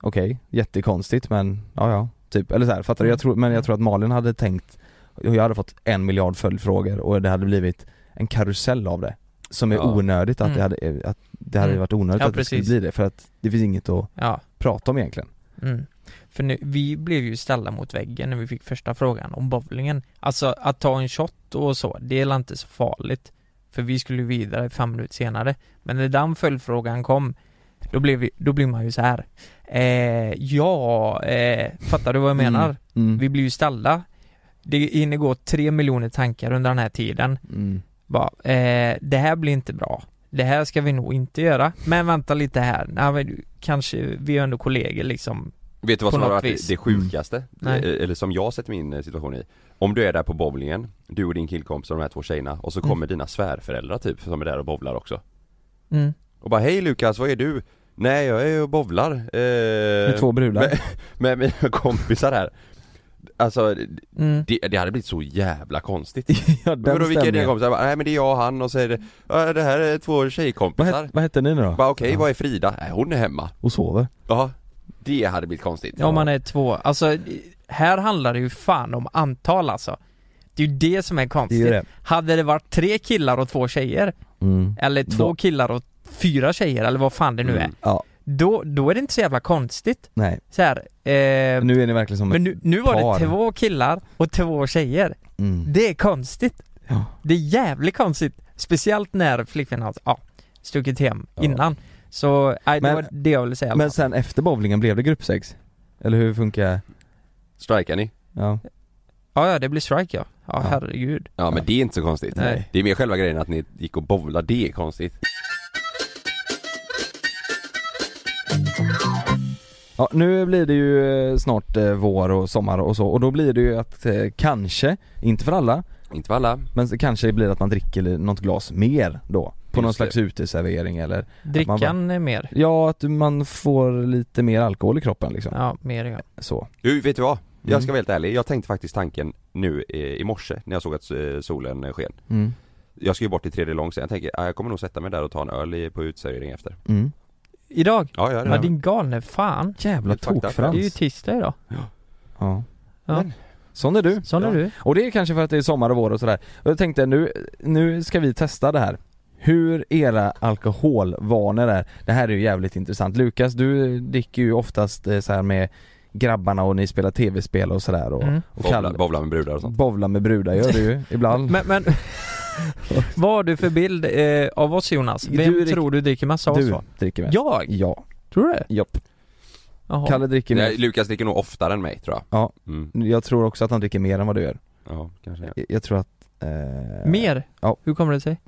E: okej, jättekonstigt men ja ja, typ, eller så här, fattar du?
C: Mm.
E: Jag tror, men jag tror att Malin hade tänkt, och jag hade fått en miljard följdfrågor och det hade blivit en karusell av det. som är
B: Ja.
E: onödigt att
C: Mm.
E: det hade, eh, att det hade
C: Mm.
E: varit onödigt
C: Ja,
E: att det skulle
C: precis.
E: bli det för att det finns inget att
C: Ja,
E: prata om egentligen
C: mm. För nu, vi blev ju ställda mot väggen när vi fick första frågan om bowlingen Alltså att ta en shot och så, det är väl inte så farligt För vi skulle ju vidare fem minuter senare Men när den följdfrågan kom Då blev, vi, då blev man ju så här. Eh, ja, eh, fattar du vad jag menar?
E: Mm.
C: Vi blir ju ställda Det hinner gå tre miljoner tankar under den här tiden
E: Mm.
C: Bara, eh, det här blir inte bra. Det här ska vi nog inte göra. Men vänta lite här. Nej, men, du- kanske, vi är ändå kollegor liksom.
B: Vet du vad
C: På
B: som har
C: något
B: varit
C: vis. Mm.
B: det- det sjukaste?
C: Nej.
B: Eh, Eller som jag sett min eh, situation i Om du är där på bowlingen, du och din killkompis och de här två tjejerna och så
C: Mm.
B: kommer dina svärföräldrar typ som är där och bowlar också
C: Mm.
B: Och bara hej Lukas, vad är du? Nej jag är och bowlar eh,
E: Med två brudar?
B: med, med mina kompisar här Alltså
C: Mm.
B: det, det hade blivit så jävla konstigt
E: ja,
B: Men Vadå vilka är dina
E: stämningen.
B: kompisar? Jag Bara, Nej men det är jag och han och så är det, ja, det här är två
E: vad,
B: tjejkompisar
E: het, vad hette ni nu då?
B: Bara okej,
E: Ja.
B: vad är Frida? Nej hon är hemma
E: Och sover?
B: Ja, det hade blivit konstigt
C: Ja, om man är två. Alltså, här handlar det ju fan om antal alltså. Det är ju det som är
E: Det är
C: konstigt.
E: ju det
C: Hade det varit tre killar och två tjejer,
E: mm.
C: eller två
E: Då-
C: killar och fyra tjejer, eller vad fan det nu
B: Mm.
C: är.
E: Ja,
C: Då, då är det inte så jävla konstigt.
E: nej,
C: Så här, eh,
E: nu är ni verkligen som
C: men nu, nu var
E: par.
C: det två killar och två tjejer.
E: ett... mm.
C: Det är konstigt.
E: Ja.
C: Det är jävligt konstigt. Speciellt när flickvännen har ja, stuckit hem
E: Ja.
C: innan. Så, nej, det
E: Men-
C: var det jag ville säga.
E: Men
C: Men,
E: sen efter bowlingen blev det gruppsex? Eller hur funkar
B: Strikar ni?
E: Ja,
C: ja, ja, det blir strike ja. Ja,
E: Ja.
C: herregud.
B: Ja men det är inte så konstigt
C: Nej.
B: Det är mer själva grejen att ni gick och bowlade, det är konstigt
E: ja nu blir det ju eh, snart eh, vår och sommar och så och då blir det ju att eh, kanske, inte för alla,
B: Inte för alla
E: men så kanske blir det att man dricker li- något glas mer då på
B: Just
E: någon
B: det.
E: slags uteservering eller man bara-
C: Drickan är mer.
E: Ja, att man får lite mer alkohol i kroppen liksom,
C: Ja, mer ja.
E: så
B: Du, vet du vad? Jag ska
E: Mm.
B: vara helt ärlig, jag tänkte faktiskt tanken nu eh, i morse när jag såg att eh, solen eh, sken
E: mm.
B: Jag ska ju bort till 3D lång sen, jag tänker ah, jag kommer nog sätta mig där och ta en öl i- på utservering efter
E: Mm.
C: Idag?
B: Ja, jag gör
C: Ja,
B: det
C: din galne fan.
E: Jävla
B: Helt fucked up,
C: Det är ju
E: tokfrans
C: tisdag idag.
E: Ja
C: Ja.
E: Sån är du
C: Sån är du.
E: Och det är kanske för att det är sommar och vår och sådär. Och jag tänkte nu, nu ska vi testa det här. Hur era alkoholvanor är. Det här är ju jävligt intressant. Lukas, du dricker ju oftast eh, så här med grabbarna och ni spelar tv-spel och sådär och,
C: Mm.
E: och
B: Bowla,
E: kallar
B: bowla med brudar och sånt
E: Bovla med brudar gör du ju ibland.
C: Men, men vad har du för bild eh, av oss Jonas? Vem
E: Du drick-
C: tror du dricker massa av oss?
E: du
C: då?
E: dricker mest.
C: Jag?
E: Ja.
C: Tror du det?
E: Japp.
C: Jaha.
E: Kalle dricker
B: Nej,
E: mer.
B: Lukas dricker nog oftare än mig tror jag
E: Ja.
B: mm.
E: Jag tror också att han dricker mer än vad du gör.
B: Ja, kanske det.
E: Jag- Jag tror att... Eh,
C: Mer?
E: Ja.
C: Hur kommer det sig?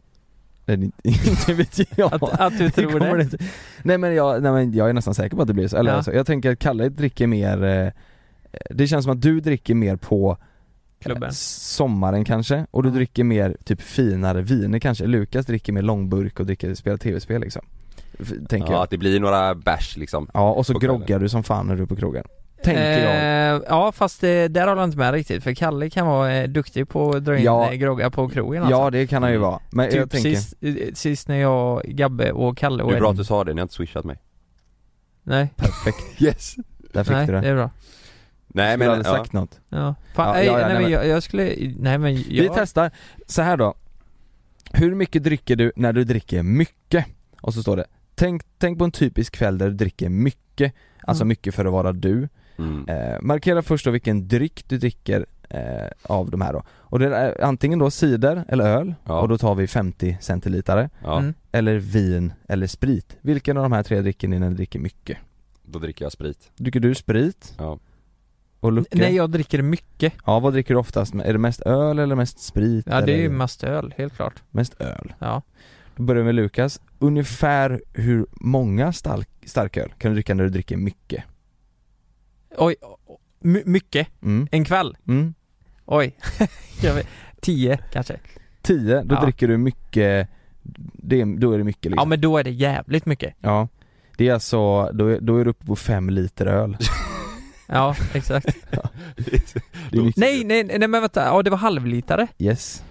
E: Nej, det- Inte vet jag.
C: Att, att du tror
E: kommer
C: det?
E: inte. Nej men jag, nej men jag är nästan säker på att det blir så, eller
C: Ja.
E: alltså, jag tänker att Kalle dricker mer eh, Det känns som att du dricker mer på eh,
C: Klubben?
E: sommaren kanske, och du
C: Ja.
E: dricker mer typ finare viner kanske, Lukas dricker mer långburk och dricker, spelar tv-spel liksom F- Tänker
B: Ja,
E: jag
B: att det blir några bärs liksom
E: Ja och så
B: på kvällen.
E: groggar du som fan när du är på krogen Tänker jag
C: Eh, Ja fast eh, där håller jag inte med riktigt för Kalle kan vara eh, duktig på att dra in
E: Ja.
C: ja. groggar på krogen alltså.
E: Ja det kan han ju vara, men jag
C: Typ
E: tänker
C: sist, eh, sist när jag, Gabbe och Kalle och
B: Det är bra
C: Edvin-
B: att du sa det, ni har inte swishat mig
C: Nej,
E: Perfekt,
B: Yes!
E: där fick
C: nej
E: du
C: det
E: det
C: är bra
B: Nej
E: Skulle
B: men,
E: aldrig
B: ja.
E: sagt något
C: Ja, Fan,
E: Ja,
C: nej,
E: ja, ja,
C: nej,
E: nej,
C: men
E: men-
C: jag, jag skulle, nej men jag,
E: Vi testar, så här då Hur mycket dricker du när du dricker mycket? Och så står det Tänk, tänk på en typisk kväll där du dricker mycket Alltså
C: Mm.
E: mycket för att vara du
B: mm.
E: eh, Markera först då vilken dryck du dricker eh, av de här då Och det är antingen då cider eller öl
B: Ja.
E: och då tar vi 50 centilitare
B: ja,
C: Mm.
E: Eller vin eller sprit Vilken av de här tre dricker ni när ni dricker mycket?
B: då dricker jag sprit
E: Dricker du sprit?
B: Ja.
E: Och Lucke?
C: Nej jag dricker mycket
E: Ja vad dricker du oftast? Är det mest öl eller mest sprit?
C: Ja det är ju
E: eller
C: mest öl, helt klart
E: mest öl?
C: Ja,
E: Då börjar vi med Lukas, ungefär hur många stark, starköl kan du dricka när du dricker mycket?
C: oj, my, mycket,
E: Mm,
C: en kväll,
E: mm.
C: oj jag vet, Tio kanske
E: Tio, då
C: Ja.
E: dricker du mycket, det, är- då är det mycket
C: Ja
E: liksom.
C: men då är det jävligt mycket
E: Ja. Det är alltså, då är, då är du uppe på fem liter öl.
C: Ja, exakt
E: Det är mycket.
C: Nej nej nej men vänta, ja det var halvlitare
E: Yes.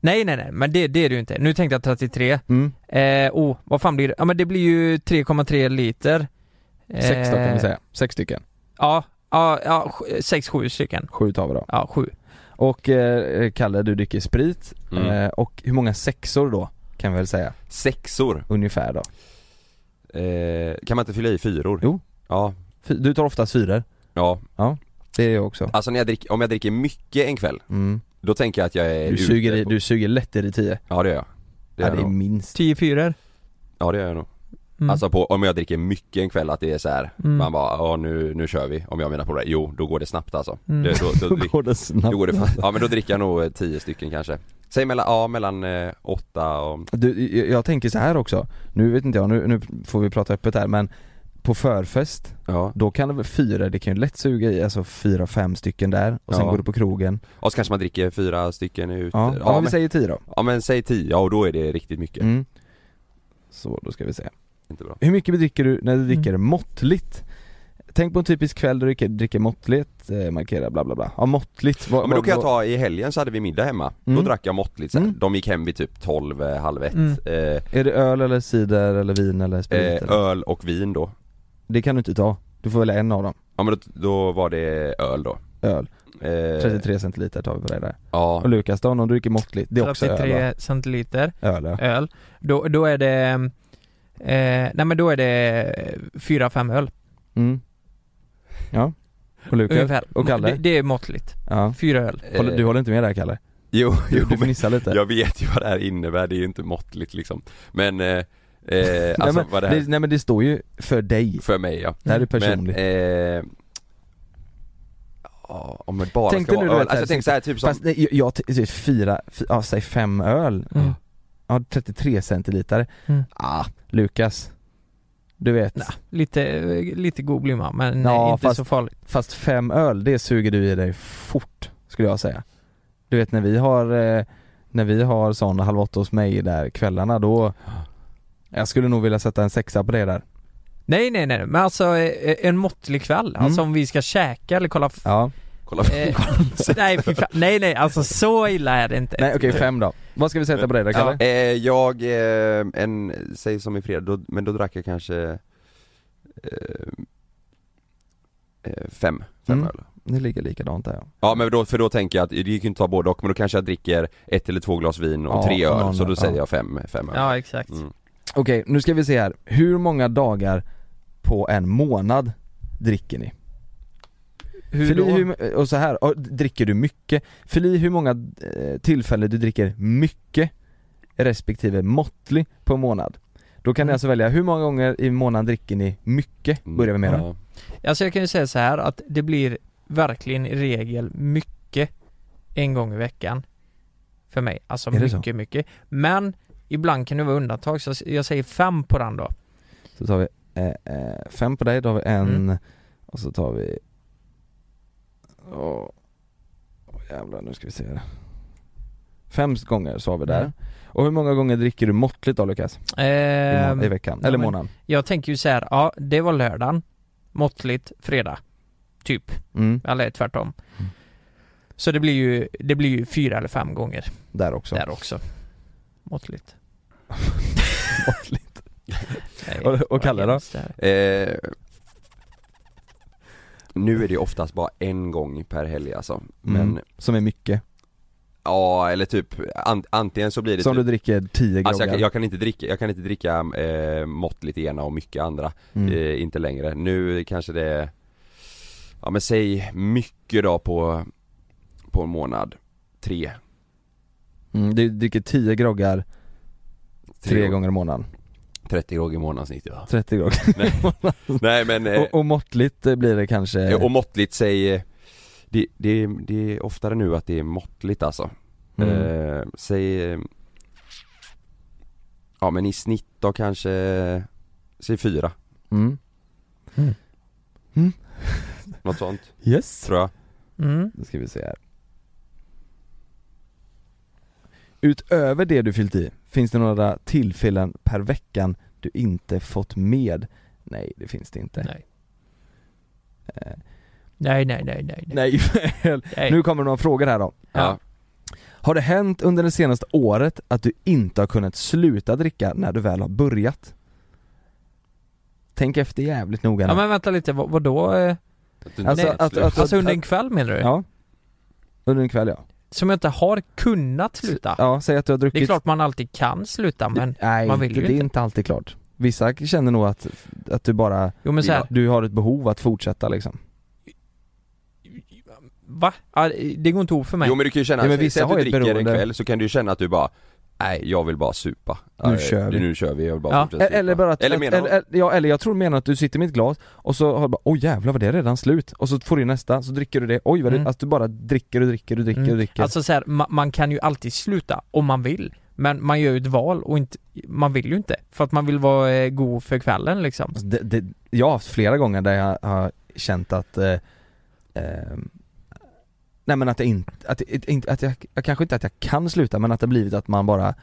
C: Nej nej nej, men det, det är det ju inte. Nu tänkte jag 33.
E: Mm.
C: Eh, oh, vad fan blir det? Ja men det blir ju 3,3 liter. Eh,
E: Sex då kan vi säga. Sex stycken.
C: Ja, ja, ja 6-7 stycken.
E: Sju tar vi då.
C: Ja, 7.
E: Och eh, Kalle, du dricker sprit.
B: Mm.
E: Eh, och hur många sexor då? kan vi väl säga,
B: Sexor,
E: ungefär då
B: eh, kan man inte fylla i fyror?
E: Jo.
B: Ja,
E: Fy- Du tar oftast fyror,
B: ja.
E: det är jag också
B: Alltså när jag dricker, om jag dricker mycket en kväll,
E: mm.
B: då tänker jag att jag är
E: du, suger
B: ute
E: i,
B: på-
E: du suger lätt i dig tio,
B: Ja det gör jag det
E: ja,
B: gör
E: det
B: jag
E: är
B: nog.
E: minst
C: Tio fyror.
B: Ja det gör jag nog
C: Mm.
B: Alltså på, om jag dricker mycket en kväll att det är så här.
C: Mm.
B: man bara ja nu, nu kör vi om jag och mina polare, jo då går det snabbt alltså
C: Mm.
B: det, då, då,
E: Då
B: drick-
E: går det snabbt
B: då går det fan- ja men då dricker jag nog eh, tio stycken kanske Säg mellan, ja mellan eh, åtta och,
E: Du, jag- jag tänker så här också, nu vet inte jag, nu, nu får vi prata öppet här men På förfest,
B: ja
E: då kan det väl fyra, det kan ju lätt suga i alltså fyra, fem stycken där och sen
B: Ja.
E: går du på krogen
B: och så kanske man dricker fyra stycken ut
E: Ja, ja, vi
B: men,
E: säger tio då
B: ja men säg tio, ja och då är det riktigt mycket,
E: mm. Så då ska vi se
B: inte bra
E: Hur mycket dricker du
B: Mm.
E: när du dricker måttligt? Tänk på en typisk kväll där du dricker, dricker måttligt, eh, markera bla bla bla Ja måttligt, vad,
B: Ja, men då kan jag ta, i helgen så hade vi middag hemma, då
E: Mm.
B: drack jag måttligt så här.
E: Mm.
B: de gick hem vid typ 12, eh, halv ett
C: Mm.
B: eh,
E: Är det öl eller cider eller vin eller sprit?
B: eh,
E: eller?
B: Öl och vin då,
E: Det kan du inte ta, du får välja en av dem,
B: ja men då, då var det öl då
E: öl
B: eh,
E: 33 centiliter tar vi på dig där
B: Ja,
E: Och Lukas då, om du dricker måttligt, det är också öl va?
C: 33 centiliter
E: Öl ja.
C: öl. Då, då är det... Eh, nej men då är det eh, fyra, fem öl
E: Mm. Ja. Och Lukas?
C: ungefär.
E: Och Kalle?
C: Det, det är måttligt.
E: Ja.
C: Fyra öl.
E: Håller, du håller inte med där Kalle?
B: Eh, Jo,
E: Du,
B: jo
E: du
B: men
E: fnissar lite?
B: jag vet ju vad det här innebär, det är ju inte måttligt liksom Men, eh, eh,
E: nej,
B: alltså
E: men,
B: vad det
E: det,
B: här,
E: nej men det står ju för dig,
B: för mig ja
E: det här är
B: Mm. Men,
E: personligt
B: eh, ja, om det bara
E: Tänk
B: ska
E: dig nu,
B: vara
E: du
B: öl,
E: vet,
B: alltså jag
E: så här,
B: tänker såhär typ som,
E: Fast nej, jag, jag ty- fyra, fy- ja säg fem öl,
C: Mm.
E: ja 33 centiliter
C: Mm.
E: Ah, Lukas Du vet,
C: Nej, lite, eh, lite god blir man men
E: Ja,
C: eh, inte
E: fast-
C: så farligt.
E: fast fem öl det suger du i dig fort skulle jag säga Du vet när vi har, eh, när vi har sån halv åtta hos mig där kvällarna då Jag skulle nog vilja sätta en sexa på det där
C: Nej nej nej men alltså eh, eh, en måttlig kväll. Alltså om vi ska käka eller kolla... f-
E: Mm. Ja,
B: kolla
C: Eh, nej fy fan. nej nej alltså så illa är det inte.
E: nej okej fem då. Vad ska vi sätta på dig då Kalle?
B: eh, Jag, eh, en, säg som i fredag, då, men då drack jag kanske eh, eh, Fem, fem
E: Mm.
B: öl
E: Det ligger likadant där ja.
B: Ja men då, för då tänker jag att det gick ju inte att ta både och, men då kanske jag dricker ett eller två glas vin och
E: Ja,
B: tre öl,
E: någon
B: så
E: öl,
B: då säger
E: ja.
B: jag fem, fem öl
C: Ja exakt.
B: Mm.
E: Okej, nu ska vi se här. Hur många dagar på en månad dricker ni?
C: Hur
E: Fyll i
C: då?
E: hur, och så här, och dricker du mycket? Fyll i hur många eh, tillfällen du dricker mycket respektive måttlig på en månad. Då kan
C: Mm.
E: ni alltså välja hur många gånger i månaden dricker ni mycket?
B: Mm.
E: Börjar vi med då.
B: Ja.
C: Alltså jag kan ju säga så här att det blir verkligen i regel mycket en gång i veckan. För mig. Alltså
E: Är det så?
C: mycket, mycket. Men ibland kan det vara undantag så jag säger fem på den då.
E: Så tar vi eh, eh, fem på dig, då har vi en
C: Mm.
E: och så tar vi... Åh, åh, jävlar nu ska vi se här. Fem gånger så har vi där.
C: Mm.
E: Och hur många gånger dricker du måttligt då Lukas? I, må-
C: Ehm,
E: I veckan,
C: ja,
E: eller
C: men-
E: månaden?
C: jag tänker ju så här, ja det var lördagen. Måttligt fredag. Typ.
E: Mm,
C: Eller tvärtom. Så det blir ju, det blir ju fyra eller fem gånger
E: där också.
C: där också. Måttligt.
E: Måttligt.
C: Nej,
E: Och- och
C: vad
E: Kalle då?
C: hemskt det här.
B: Eh, nu är det ju oftast bara en gång per helg alltså, men
E: Mm. Som är mycket.
B: ja eller typ an, antingen så blir det
E: Som du
B: typ,
E: dricker tio groggar.
B: Alltså jag, kan- jag kan inte dricka, jag kan inte dricka eh, måttligt ena och mycket andra,
E: mm.
B: eh, inte längre. Nu kanske det är, ja men säg mycket då på, på en månad, tre,
E: Mm, du dricker tio groggar tre gånger i månaden.
B: 30 grogg i månaden snitt ja.
E: 30 groggar.
B: Nej men, eh,
E: Och, och måttligt eh, blir det kanske...
B: eh, och måttligt säg, eh, det, det, det är oftare nu att det är måttligt alltså.
E: mm.
B: Eh, säg, eh, ja men i snitt då kanske, eh, säg fyra,
E: Mm.
B: något sånt
E: Yes.
B: tror jag.
C: Mm.
E: Då ska vi se här. Utöver det du fyllt i, finns det några tillfällen per veckan du inte fått med? Nej, det finns det inte.
C: Nej.
E: Eh,
C: Nej, nej, nej, nej, nej.
E: nej väl.
C: nej.
E: Nu kommer några frågor här då.
B: Ja.
E: Har det hänt under det senaste året att du inte har kunnat sluta dricka när du väl har börjat? Tänk efter jävligt noga nu.
C: Ja men vänta lite, vad, vadå? eh,
B: Att du inte
E: Alltså,
B: vet
E: att-
B: slut.
E: att-
C: Alltså under en kväll menar du?
E: ja. Under en kväll ja.
C: som jag inte har kunnat sluta.
E: Ja, säg att du har druckit
C: Det är klart man alltid kan sluta men,
E: Nej,
C: man vill
E: inte,
C: ju
E: det är
C: inte.
E: inte alltid klart Vissa känner nog att, att du bara,
C: jo men såhär,
E: du har ett behov att fortsätta liksom
C: va? Ja, Det går inte ihop för mig.
B: Jo men du kan ju känna,
E: Ja, men
B: säg-
E: vissa
B: säg att du
E: har ju ett
B: dricker en
E: beroende.
B: kväll så kan du ju känna att du bara Nej jag vill bara supa.
E: Nu
B: Nej,
E: kör vi.
B: Nu kör vi, jag vill bara
C: Ja,
B: fortsätta supa.
E: Eller bara att,
B: Eller
E: att,
B: menar
E: eller,
B: eller,
E: eller, ja, eller jag tror menar att du sitter med ett glas och så har du bara oj jävlar vad det är redan slut och så får du nästa, så dricker du det, oj vad det,
C: Mm.
E: att du bara dricker och dricker och dricker
C: Mm.
E: och dricker
C: Alltså så här, ma- man kan ju alltid sluta om man vill. Men man gör ju ett val och inte, man vill ju inte. För att man vill vara eh, god för kvällen liksom.
E: Alltså, det, det, jag har haft flera gånger där jag har känt att eh, ehm, Nej men att jag inte, att, jag- inte- att jag, jag, kanske inte att jag kan sluta men att det har blivit att man bara,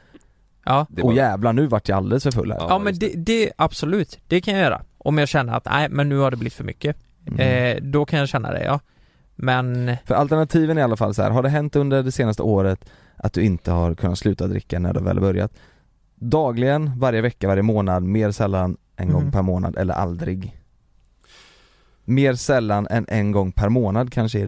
C: Ja.
B: Det
E: åh
B: var-
E: jävlar nu vart jag alldeles för full här
B: Ja.
C: Ja men
B: just
C: det, det, absolut, det kan jag göra. Om jag känner att nej men nu har det blivit för mycket.
E: Mm.
C: Eh, då kan jag känna det ja. Men,
E: För alternativen i alla fall så här, har det hänt under det senaste året att du inte har kunnat sluta dricka när du väl har börjat? Dagligen, varje vecka, varje månad, mer sällan en
C: Mm.
E: gång per månad eller aldrig? Mer sällan än en gång per månad kanske är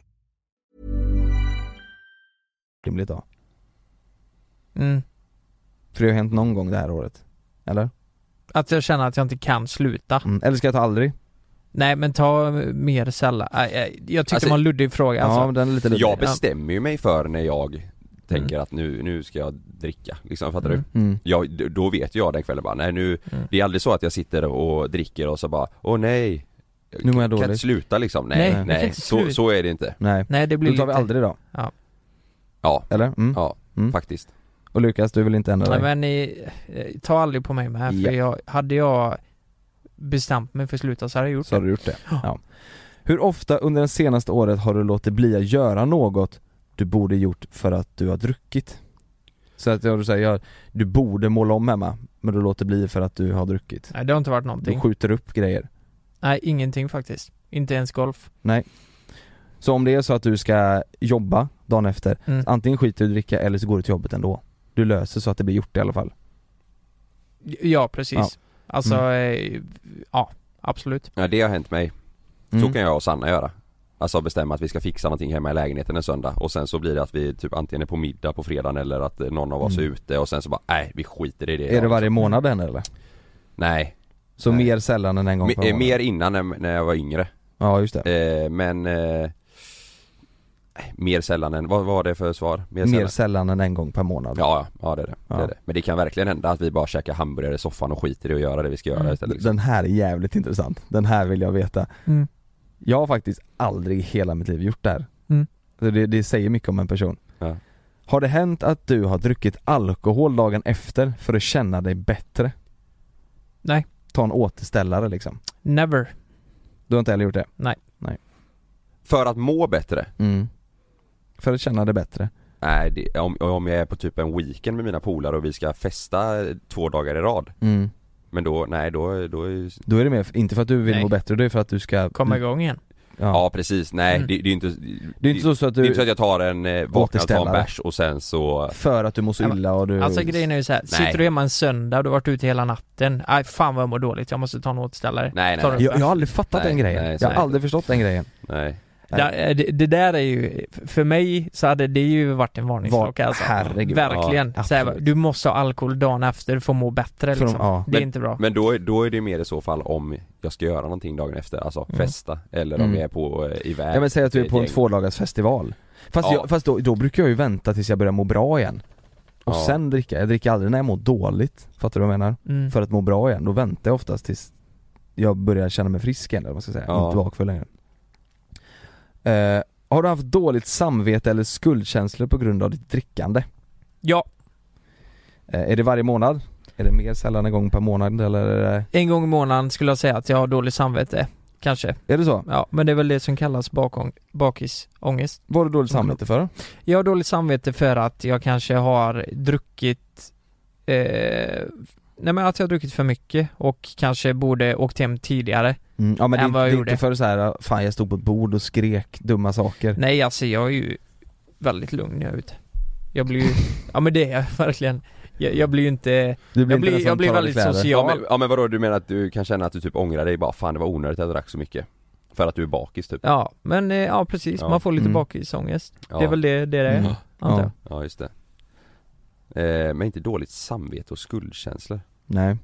E: rimligt då.
C: mm,
E: För det har hänt någon gång det här året. Eller?
C: att jag känner att jag inte kan sluta.
E: Mm. Eller ska jag ta aldrig?
C: Nej men ta eh, mer sällan. Nej, eh, Jag tyckte
B: Alltså-
C: det var en luddig fråga alltså.
E: ja, men den är lite luddig.
B: Jag bestämmer ju mig för när jag tänker att nu, nu ska jag dricka, liksom fattar du?
E: Mm.
B: Jag, d- då vet jag den kvällen bara, nej nu, det är aldrig så att jag sitter och dricker och så bara, åh nej
E: Nu mår jag
B: Kan jag inte
E: dåligt.
B: sluta liksom,
C: Nej,
B: nej,
C: jag
B: nej,
C: kan inte
B: så,
C: sluta.
B: så är det inte
E: Nej.
C: Nej det blir
E: Då tar vi
C: lite-
E: aldrig då.
B: Ja,
E: Eller? Mm.
B: ja,
E: Mm.
B: faktiskt
E: Och Lukas, du vill inte ändra
C: Nej
E: dig?
C: men ni, eh, ta aldrig på mig med här för
E: Ja.
C: jag, hade jag bestämt mig för att sluta så hade jag gjort
E: Så har
C: det.
E: du gjort det? Ja. Hur ofta under det senaste året har du låtit bli att göra något du borde gjort för att du har druckit? Så att jag- du säger, jag- du borde måla om hemma, men du låter bli för att du har druckit.
C: Nej det har inte varit
E: Du
C: någonting.
E: skjuter upp grejer.
C: Nej ingenting faktiskt. Inte ens golf.
E: Så om det är så att du ska jobba dagen efter,
C: Mm.
E: antingen skiter du i att dricka eller så går du till jobbet ändå. Du löser så att det blir gjort i alla fall.
C: Ja precis.
E: Ja.
C: Alltså, eh, ja absolut.
B: Ja det har hänt mig,
E: Mm.
B: så kan jag och Sanna göra Alltså bestämma att vi ska fixa någonting hemma i lägenheten en söndag och sen så blir det att vi typ antingen är på middag på fredagen eller att eh, någon av oss
E: Mm.
B: är ute och sen så bara, nej vi skiter i det
E: Är det varje månad än eller?
B: Nej,
E: Så
B: Nej.
E: mer sällan än en gång per
B: Me- eh,
E: månad?
B: mer innan när, när jag var yngre
E: Ja just det.
B: Eh, men eh, Mer sällan än, vad var det för svar?
E: Mer
B: Mer, sällan?
E: sällan än en gång per månad.
B: Ja, ja, ja det är det. det
E: Ja.
B: är det. Men det kan verkligen hända att vi bara käkar hamburgare i soffan och skiter i att göra det vi ska göra
C: Mm.
B: istället liksom.
E: Den här är jävligt intressant. Den här vill jag veta.
C: Mm.
E: Jag har faktiskt aldrig i hela mitt liv gjort det här.
C: Mm.
E: Så Det, det säger mycket om en person.
B: Ja.
E: Har det hänt att du har druckit alkohol dagen efter för att känna dig bättre?
C: Nej.
E: Ta en återställare liksom.
C: Never.
E: Du har inte heller gjort det?
B: För att må bättre?
E: För att känna dig bättre?
B: Nej, det, om, om jag är på typ en weekend med mina polare och vi ska festa två dagar i rad Men då, nej då, då är ju-
E: Då är det mer, inte för att du vill
C: Nej.
E: må bättre, det är för att du ska...
C: Komma igång igen.
E: Ja.
B: Ja precis, nej
C: Mm.
B: det, det är inte
E: Det är inte så, så att
B: det är inte så
E: du,
B: att jag tar en, eh, vaknar och tar en
E: Återställare.
B: bärs och sen så
E: för att du mår så
C: Ja, men-
E: illa och du...
C: Alltså grejen är ju såhär,
B: Nej.
C: sitter du hemma en söndag och du har varit ute hela natten. Nej fan vad jag mår dåligt, jag måste ta en återställare.
B: Nej, nej,
C: Tar du
B: nej.
C: en
E: jag, jag har
C: bärs?
E: aldrig fattat
B: Nej,
E: den grejen.
B: nej, så
E: jag har
B: är det.
E: aldrig förstått den grejen.
B: Nej
C: Där- eh, det, det där är ju, för mig så hade det ju varit en varningsklocka
E: Var-
C: alltså.
E: herregud.
C: Verkligen.
E: Ja,
C: så här,
E: absolut.
C: du måste ha alkohol dagen efter för att må bättre
E: För de-
C: liksom.
E: ja.
C: Det är
B: Men-
C: inte bra.
B: Men då, är- då är det mer i så fall om jag ska göra någonting dagen efter, alltså
C: Mm.
B: festa eller om
E: Mm.
B: jag är på eh, iväg
E: Ja men säg att du är
B: ett
E: på en
B: gäng.
E: tvådagarsfestival Fast,
B: Ja.
E: jag, fast då, då brukar jag ju vänta tills jag börjar må bra igen Och
B: Ja.
E: sen dricka, jag dricker aldrig när jag mår dåligt Fattar du vad jag menar?
C: Mm.
E: För att må bra igen, då väntar jag oftast tills jag börjar känna mig frisk igen eller vad man ska säga,
B: Ja.
E: inte bakfull längre eh, Har du haft dåligt samvete eller skuldkänslor på grund av ditt drickande?
C: Ja,
E: Eh, är det varje månad? Är det mer sällan en gång per månad eller? är det-
C: en gång i månaden skulle jag säga att jag har dåligt samvete. kanske.
E: Är det så?
C: Ja, men det är väl det som kallas bakom, bakisångest.
E: Vad har du dåligt samvete för?
C: Jag har dåligt samvete för att jag kanske har druckit eh, Nej men att jag har druckit för mycket och kanske borde åkt hem tidigare
E: Mm, ja men det,
C: Än
E: är-
C: vad jag
E: det är
C: gjorde.
E: inte för så här, fan jag stod på ett bord och skrek dumma saker
C: Nej alltså jag är ju väldigt lugn när jag är ute Jag blir ju, ja men det är jag verkligen Jag, jag blir ju inte,
E: Du
C: jag
E: inte
C: blir,
E: den som
C: jag blir
E: tar av dig
C: väldigt
E: kläder.
C: social
B: Ja men, ja men vadå, du menar att du kan känna att du typ ångrar dig bara fan det var onödigt att jag drack så mycket? För att du är bakis typ?
C: Ja, men eh, ja precis,
B: Ja.
C: man får lite
E: Mm.
C: bakisångest
B: Ja,
C: Det är väl det det är,
E: Mm.
C: antar
E: Ja.
C: jag
B: ja just det eh, Men inte dåligt samvete och skuldkänslor?
E: Nej,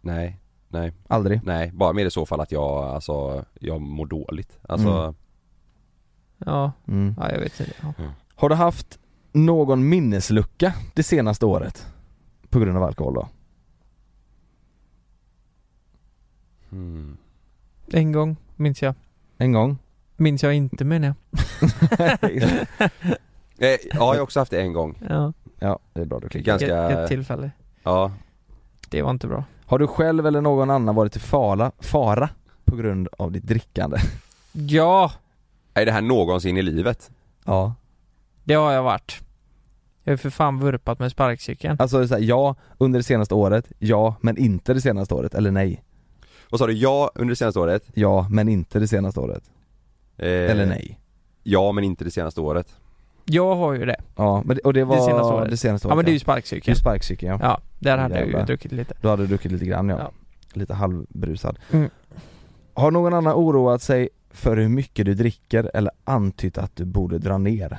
B: Nej, nej,
E: aldrig
B: nej, bara mer i så fall att jag, alltså, jag mår dåligt Alltså,
E: Mm.
C: Ja,
E: mm.
C: ja jag vet inte ja.
E: Har du haft någon minneslucka det senaste året? På grund av alkohol då?
B: hmm.
C: En gång, minns jag
E: En gång?
C: Minns jag inte menar jag
B: eh, Ja, jag har också haft det en gång
C: Ja,
E: ja, det är bra du klickar
B: Ganska,
C: ett, ett tillfälle
B: ja
C: Det var inte bra
E: Har du själv eller någon annan varit i fara, fara på grund av ditt drickande?
C: Ja,
B: Är det här någonsin i livet?
E: Ja
C: det har jag varit Jag har ju för fan vurpat med sparkcykeln
E: Alltså är det så här, ja under det senaste året, ja men inte det senaste året, eller nej
B: Vad sa du? Ja under det senaste året?
E: Ja men inte det senaste året,
B: Eh,
E: eller nej
B: Ja men inte det senaste året
C: Jag har ju det,
E: Ja, men det, och det var
C: senaste året.
E: det senaste
C: ja men det är ju
E: Det är
C: sparkcykeln
E: ju sparkcykeln ja.
C: Ja, där hade jag ju
E: Jävlar.
C: druckit lite
E: Då hade du druckit lite grann ja,
C: Ja.
E: lite halvbrusad
C: Mm.
E: Har någon annan oroat sig för hur mycket du dricker eller antytt att du borde dra ner?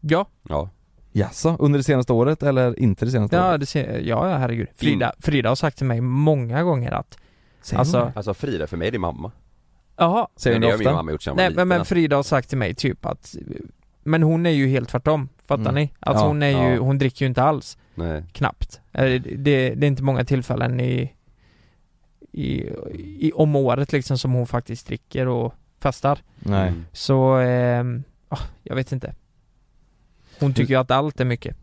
C: Ja,
B: Ja
E: Jaså, under det senaste året eller inte det senaste
C: ja,
E: året?
C: det ser, ja, ja herregud Frida, Frida har sagt till mig många gånger att
E: Säger hon
C: Alltså,
E: det?
B: Alltså Frida för mig, det är mamma
C: jaha
E: Säger
B: Men
E: hon det
B: det har min
E: ofta?
B: mamma gjort sedan jag
C: Nej
B: var
C: men, men
B: liten,
C: Frida har sagt till mig typ att Men hon är ju helt tvärtom, fattar
E: Mm.
C: ni? Alltså
E: Ja,
C: hon är ju,
B: ja.
C: hon dricker ju inte alls,
B: alltså. Nej.
C: knappt Eh, det, det är inte många tillfällen i, i, i om året liksom som hon faktiskt dricker och festar
E: Nej
B: Mm.
C: Så, ehm, ah, jag vet inte Hon tycker ju att allt är mycket,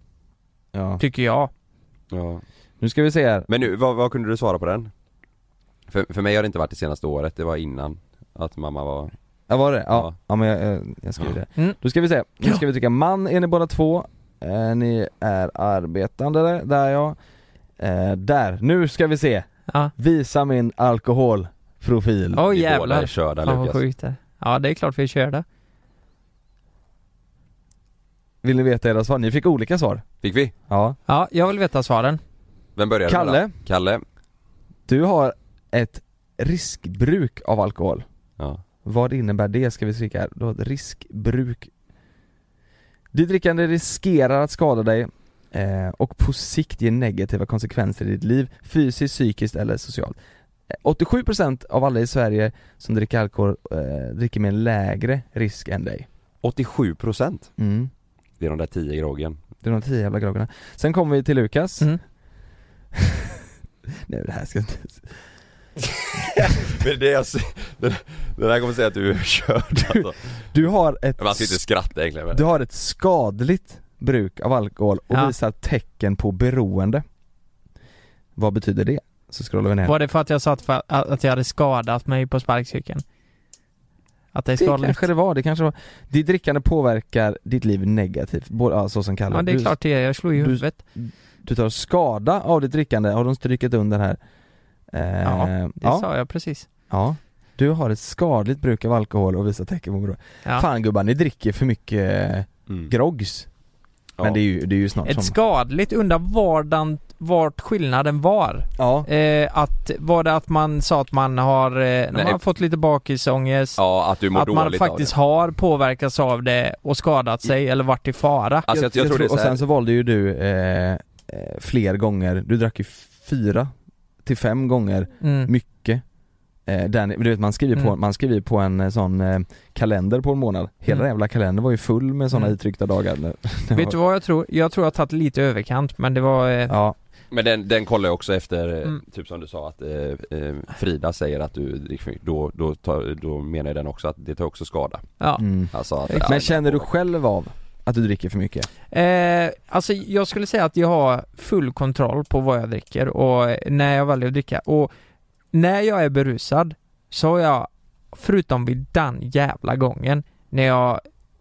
E: ja.
C: tycker jag
B: Ja.
E: Nu ska vi se här,
B: Men nu, vad, vad kunde du svara på den? För, för mig har det inte varit det senaste året, det var innan att mamma var...
E: ja, var det? Ja,
B: Ja.
E: ja. men jag, jag, jag skriver
B: Ja.
E: det
C: Mm.
E: Då ska vi se, nu ska vi trycka man är ni båda två, eh, ni är arbetande där ja eh, Där, nu ska vi se,
C: Ja,
E: visa min alkoholprofil
C: åh
B: vi båda är
C: jävlar
B: körda
C: Fan vad
B: Lukas.
C: sjukt det är. Ja det är klart vi kör det
E: Vill ni veta era svar? Ni fick olika svar
B: Fick vi?
E: Ja
C: Ja, jag vill veta svaren
B: Vem började? med
E: Kalle?
B: då? Kalle?
E: Du har ett riskbruk av alkohol.
B: Ja.
E: Vad innebär det ska vi skrika här. Du har ett riskbruk. Ditt drickande riskerar att skada dig eh, och på sikt ge negativa konsekvenser i ditt liv, fysiskt, psykiskt eller socialt. Eh, 87% av alla i Sverige som dricker alkohol eh, dricker med en lägre risk än dig.
B: 87%
E: Mm.
B: Det är de där 10 groggen.
E: Det är de tio jävla groggarna. Sen kommer vi till Lukas.
C: Mm.
E: Nej det här ska jag inte...
B: Men det är alltså, den, den här kommer säga att du är körd alltså.
E: Du har ett
B: Man ska inte skratta egentligen men...
E: Du har ett skadligt bruk av alkohol och
C: Ja.
E: visar tecken på beroende. Vad betyder det? Så scrollar vi ner.
C: Var det för att jag satt för att att jag hade skadat mig på sparkcykeln? Att det är
E: det
C: skadligt?
E: kanske det var, det kanske var. Ditt drickande påverkar ditt liv negativt, både, ja, så som kallar
C: ja det är
E: du,
C: klart det är, jag slog ju
E: du-
C: huvudet
E: du tar skada av ditt drickande, har de strykit under här? Eh,
C: Ja, Det
E: ja,
C: sa jag precis
E: ja. Du har ett skadligt bruk av alkohol och visar tecken på beroende.
C: ja.
E: Fan gubbar, ni dricker för mycket eh,
B: Mm.
E: groggs.
B: Ja.
E: Men det är ju, det är ju snart
C: Ett
E: som...
C: skadligt, undrar vardan, vart skillnaden var?
E: Ja,
C: Eh, att, var det att man sa att man har, eh, när man
B: Nej.
C: har fått lite bakisångest?
B: Ja, att du mår
C: att man
B: dåligt
C: faktiskt
B: av
C: har påverkats av det och skadat sig eller varit i fara?
B: det. Alltså jag, jag, tror det är
E: Och
B: så här,
E: sen så valde ju du eh, eh, fler gånger, du drack ju fyra till fem gånger
C: Mm.
E: mycket eh, den, du vet man skriver, på,
C: Mm.
E: man skriver på en eh, sån eh, kalender på en månad Hela
C: Mm.
E: den jävla kalendern var ju full med såna
C: Mm.
E: itryckta dagar när,
C: Vet du vad jag tror? Jag tror jag har tagit lite i överkant men det var, eh,
E: Ja,
B: Men den, den kollar jag också efter, eh,
C: Mm.
B: typ som du sa att eh, eh, Frida säger att du dricker för mycket. då, då, tar, då menar jag den också att det tar också skada
C: ja.
E: mm.
B: Alltså att,
E: Men känner du själv av att du dricker för mycket?
C: Eh, alltså jag skulle säga att jag har full kontroll på vad jag eh, dricker och när jag väljer att dricka och när jag är berusad så har jag Förutom vid den jävla gången när jag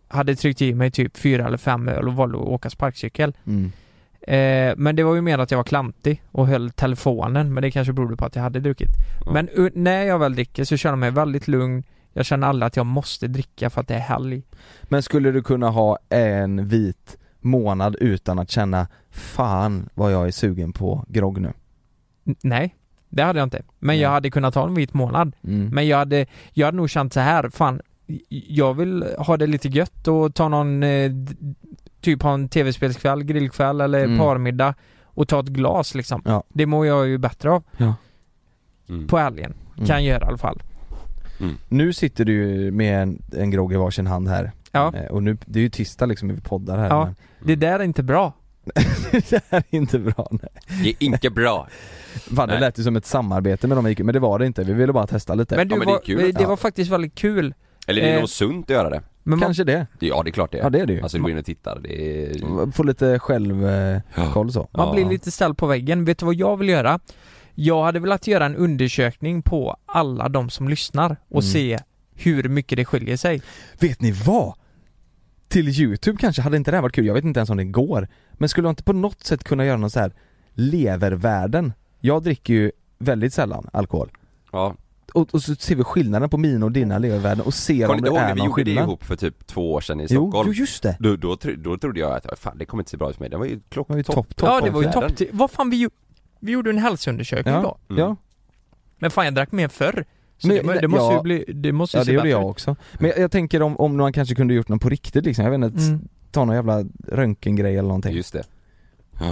C: hade tryckt i mig typ fyra eller fem öl och valde att åka sparkcykel.
E: Mm.
C: Eh, men det var ju mer att jag var klantig och höll telefonen, men det kanske berodde på att jag hade druckit.
B: Ja.
C: Men u- när jag väl dricker så känner jag mig väldigt lugn. Jag känner aldrig att jag måste dricka för att det är helg.
E: Men skulle du kunna ha en vit månad utan att känna Fan vad jag är sugen på grogg nu?
C: N- nej, det hade jag inte. Men
E: Nej.
C: jag hade kunnat ha en vit månad.
E: Mm.
C: Men jag hade, jag hade nog känt så här, fan Jag vill ha det lite gött och ta någon eh, d- Typ ha en tv-spelskväll, grillkväll eller
E: Mm.
C: parmiddag Och ta ett glas liksom
E: Ja.
C: Det mår jag ju bättre av
B: Mm.
C: på helgen
E: Mm.
C: Kan jag göra i alla fall
E: Nu sitter du ju med en, en grogg i varsin hand här
C: Ja,
E: Eh, Och nu, det är ju tisdag liksom när vi poddar här
C: Ja.
E: men
C: det där är inte bra
E: Det här är inte bra nej.
B: Det är inte bra.
E: Fan det
B: Nej.
E: lät ju som ett samarbete med dem vi gick- men det var det inte, vi ville bara testa lite
C: Men du,
B: Ja, men det är
C: var,
B: kul.
C: det
E: Ja.
C: var faktiskt väldigt kul
B: Eller det är
C: Eh.
B: nog sunt att göra det.
C: Men man,
E: Kanske det,
B: Ja det är klart det är.
E: ja det är det ju
B: Alltså du går in och tittar, det är...
E: Få lite självkoll
B: Ja.
E: så
C: man
B: Ja.
C: blir lite ställd på väggen Vet du vad jag vill göra? Jag hade velat göra en undersökning på alla de som lyssnar och
E: Mm.
C: se hur mycket det skiljer sig
E: Vet ni vad? Till youtube kanske, hade inte det här varit kul? Jag vet inte ens om det går Men skulle jag inte på något sätt kunna göra någon så här levervärden? Jag dricker ju väldigt sällan alkohol
B: Ja.
E: och, och så ser vi skillnaden på mina och dina levervärden och ser
B: Kommer
E: om
B: ni
E: det
B: inte ihåg när
E: är
B: vi
E: någon
B: gjorde det
E: skillnad?
B: ihop för typ två år sedan i
E: jo,
B: Stockholm?
E: jo, just det!
B: Då, då, tro- då trodde jag att, fan det kommer inte se bra ut för mig, den var ju
E: Det var ju
B: klocktopp
E: topp, topp
C: Ja det var ju
E: åtgärder.
C: topp Vad fan vi, gjorde- vi gjorde en hälsoundersökning då
E: Ja, ja.
C: Men fan jag drack mer förr. Så
E: Men-
C: det, må- det måste
E: ja.
C: ju bli, det måste ju
E: Ja
C: se
E: det gjorde
C: bättre
E: jag också. Men jag, jag tänker om, om man kanske kunde gjort något på riktigt liksom, jag vet
C: ut.
E: inte,
C: Mm.
E: ta någon jävla röntgengrej eller någonting.
B: Just det.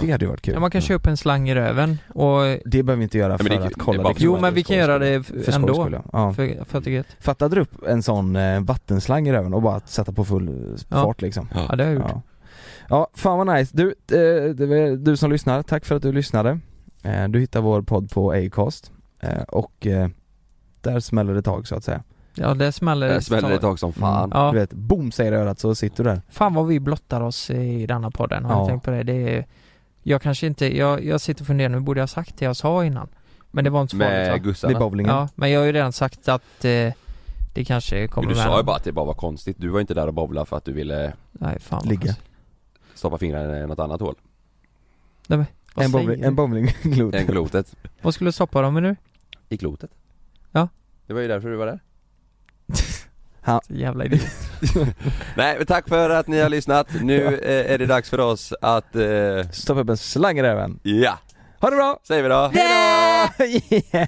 E: Det hade ju varit kul.
C: Ja, man kan köpa en slang i röven och...
E: Det behöver vi inte göra
B: men
E: för
B: det-
E: att
B: det är
E: kolla
B: bara
E: riktigt.
C: Jo men vi kan göra det f-
E: för skojs skull,
C: ändå.
E: ja. ja.
C: För, för att det är gött.
E: Fattade du upp en sån eh, vattenslang i röven och bara sätta på full eh,
C: Ja.
E: fart liksom?
C: Ja det har jag gjort.
E: Ja. ja, fan vad nice. Du, eh, det var- du som lyssnar, tack för att du lyssnade. Eh, Du hittar vår podd på Acast eh, och eh, där smäller det tag så att säga.
C: Ja det smäller.
B: Det smäller ett tag som fan.
E: Mm.
C: Ja.
E: Du vet, boom säger det i örat så sitter du där.
C: Fan vad vi blottar oss i denna podden. Har
E: Ja.
C: du tänkt på det? det är, jag kanske inte, jag, jag sitter och funderar nu, borde jag ha sagt det jag sa innan? Men det var inte så
B: Med
C: farligt va?
E: Det är
B: gussarna.
E: bowlingen.
C: Ja, men jag har ju redan sagt att eh, det kanske kommer
B: Men du
C: med
B: sa ju
C: någon-
B: bara att det bara var konstigt, du var ju inte där och bowlade för att du ville
C: Nej fan vad
E: Ligga.
C: konstigt.
B: stoppa fingrarna i något annat hål
C: Vad
E: en,
C: säger
E: bowling,
C: du?
E: en bowlingklot.
B: än klotet.
C: Vad skulle du stoppa dem med nu?
B: I klotet?
C: Ja.
B: Det var ju därför du var där.
C: Jävla idiot.
B: Nej men tack för att ni har lyssnat, nu eh, är det dags för oss att, eh,
E: Stoppa upp en slang i röven.
B: ja,
E: Ha det bra!
B: säger vi då.
E: Yeah.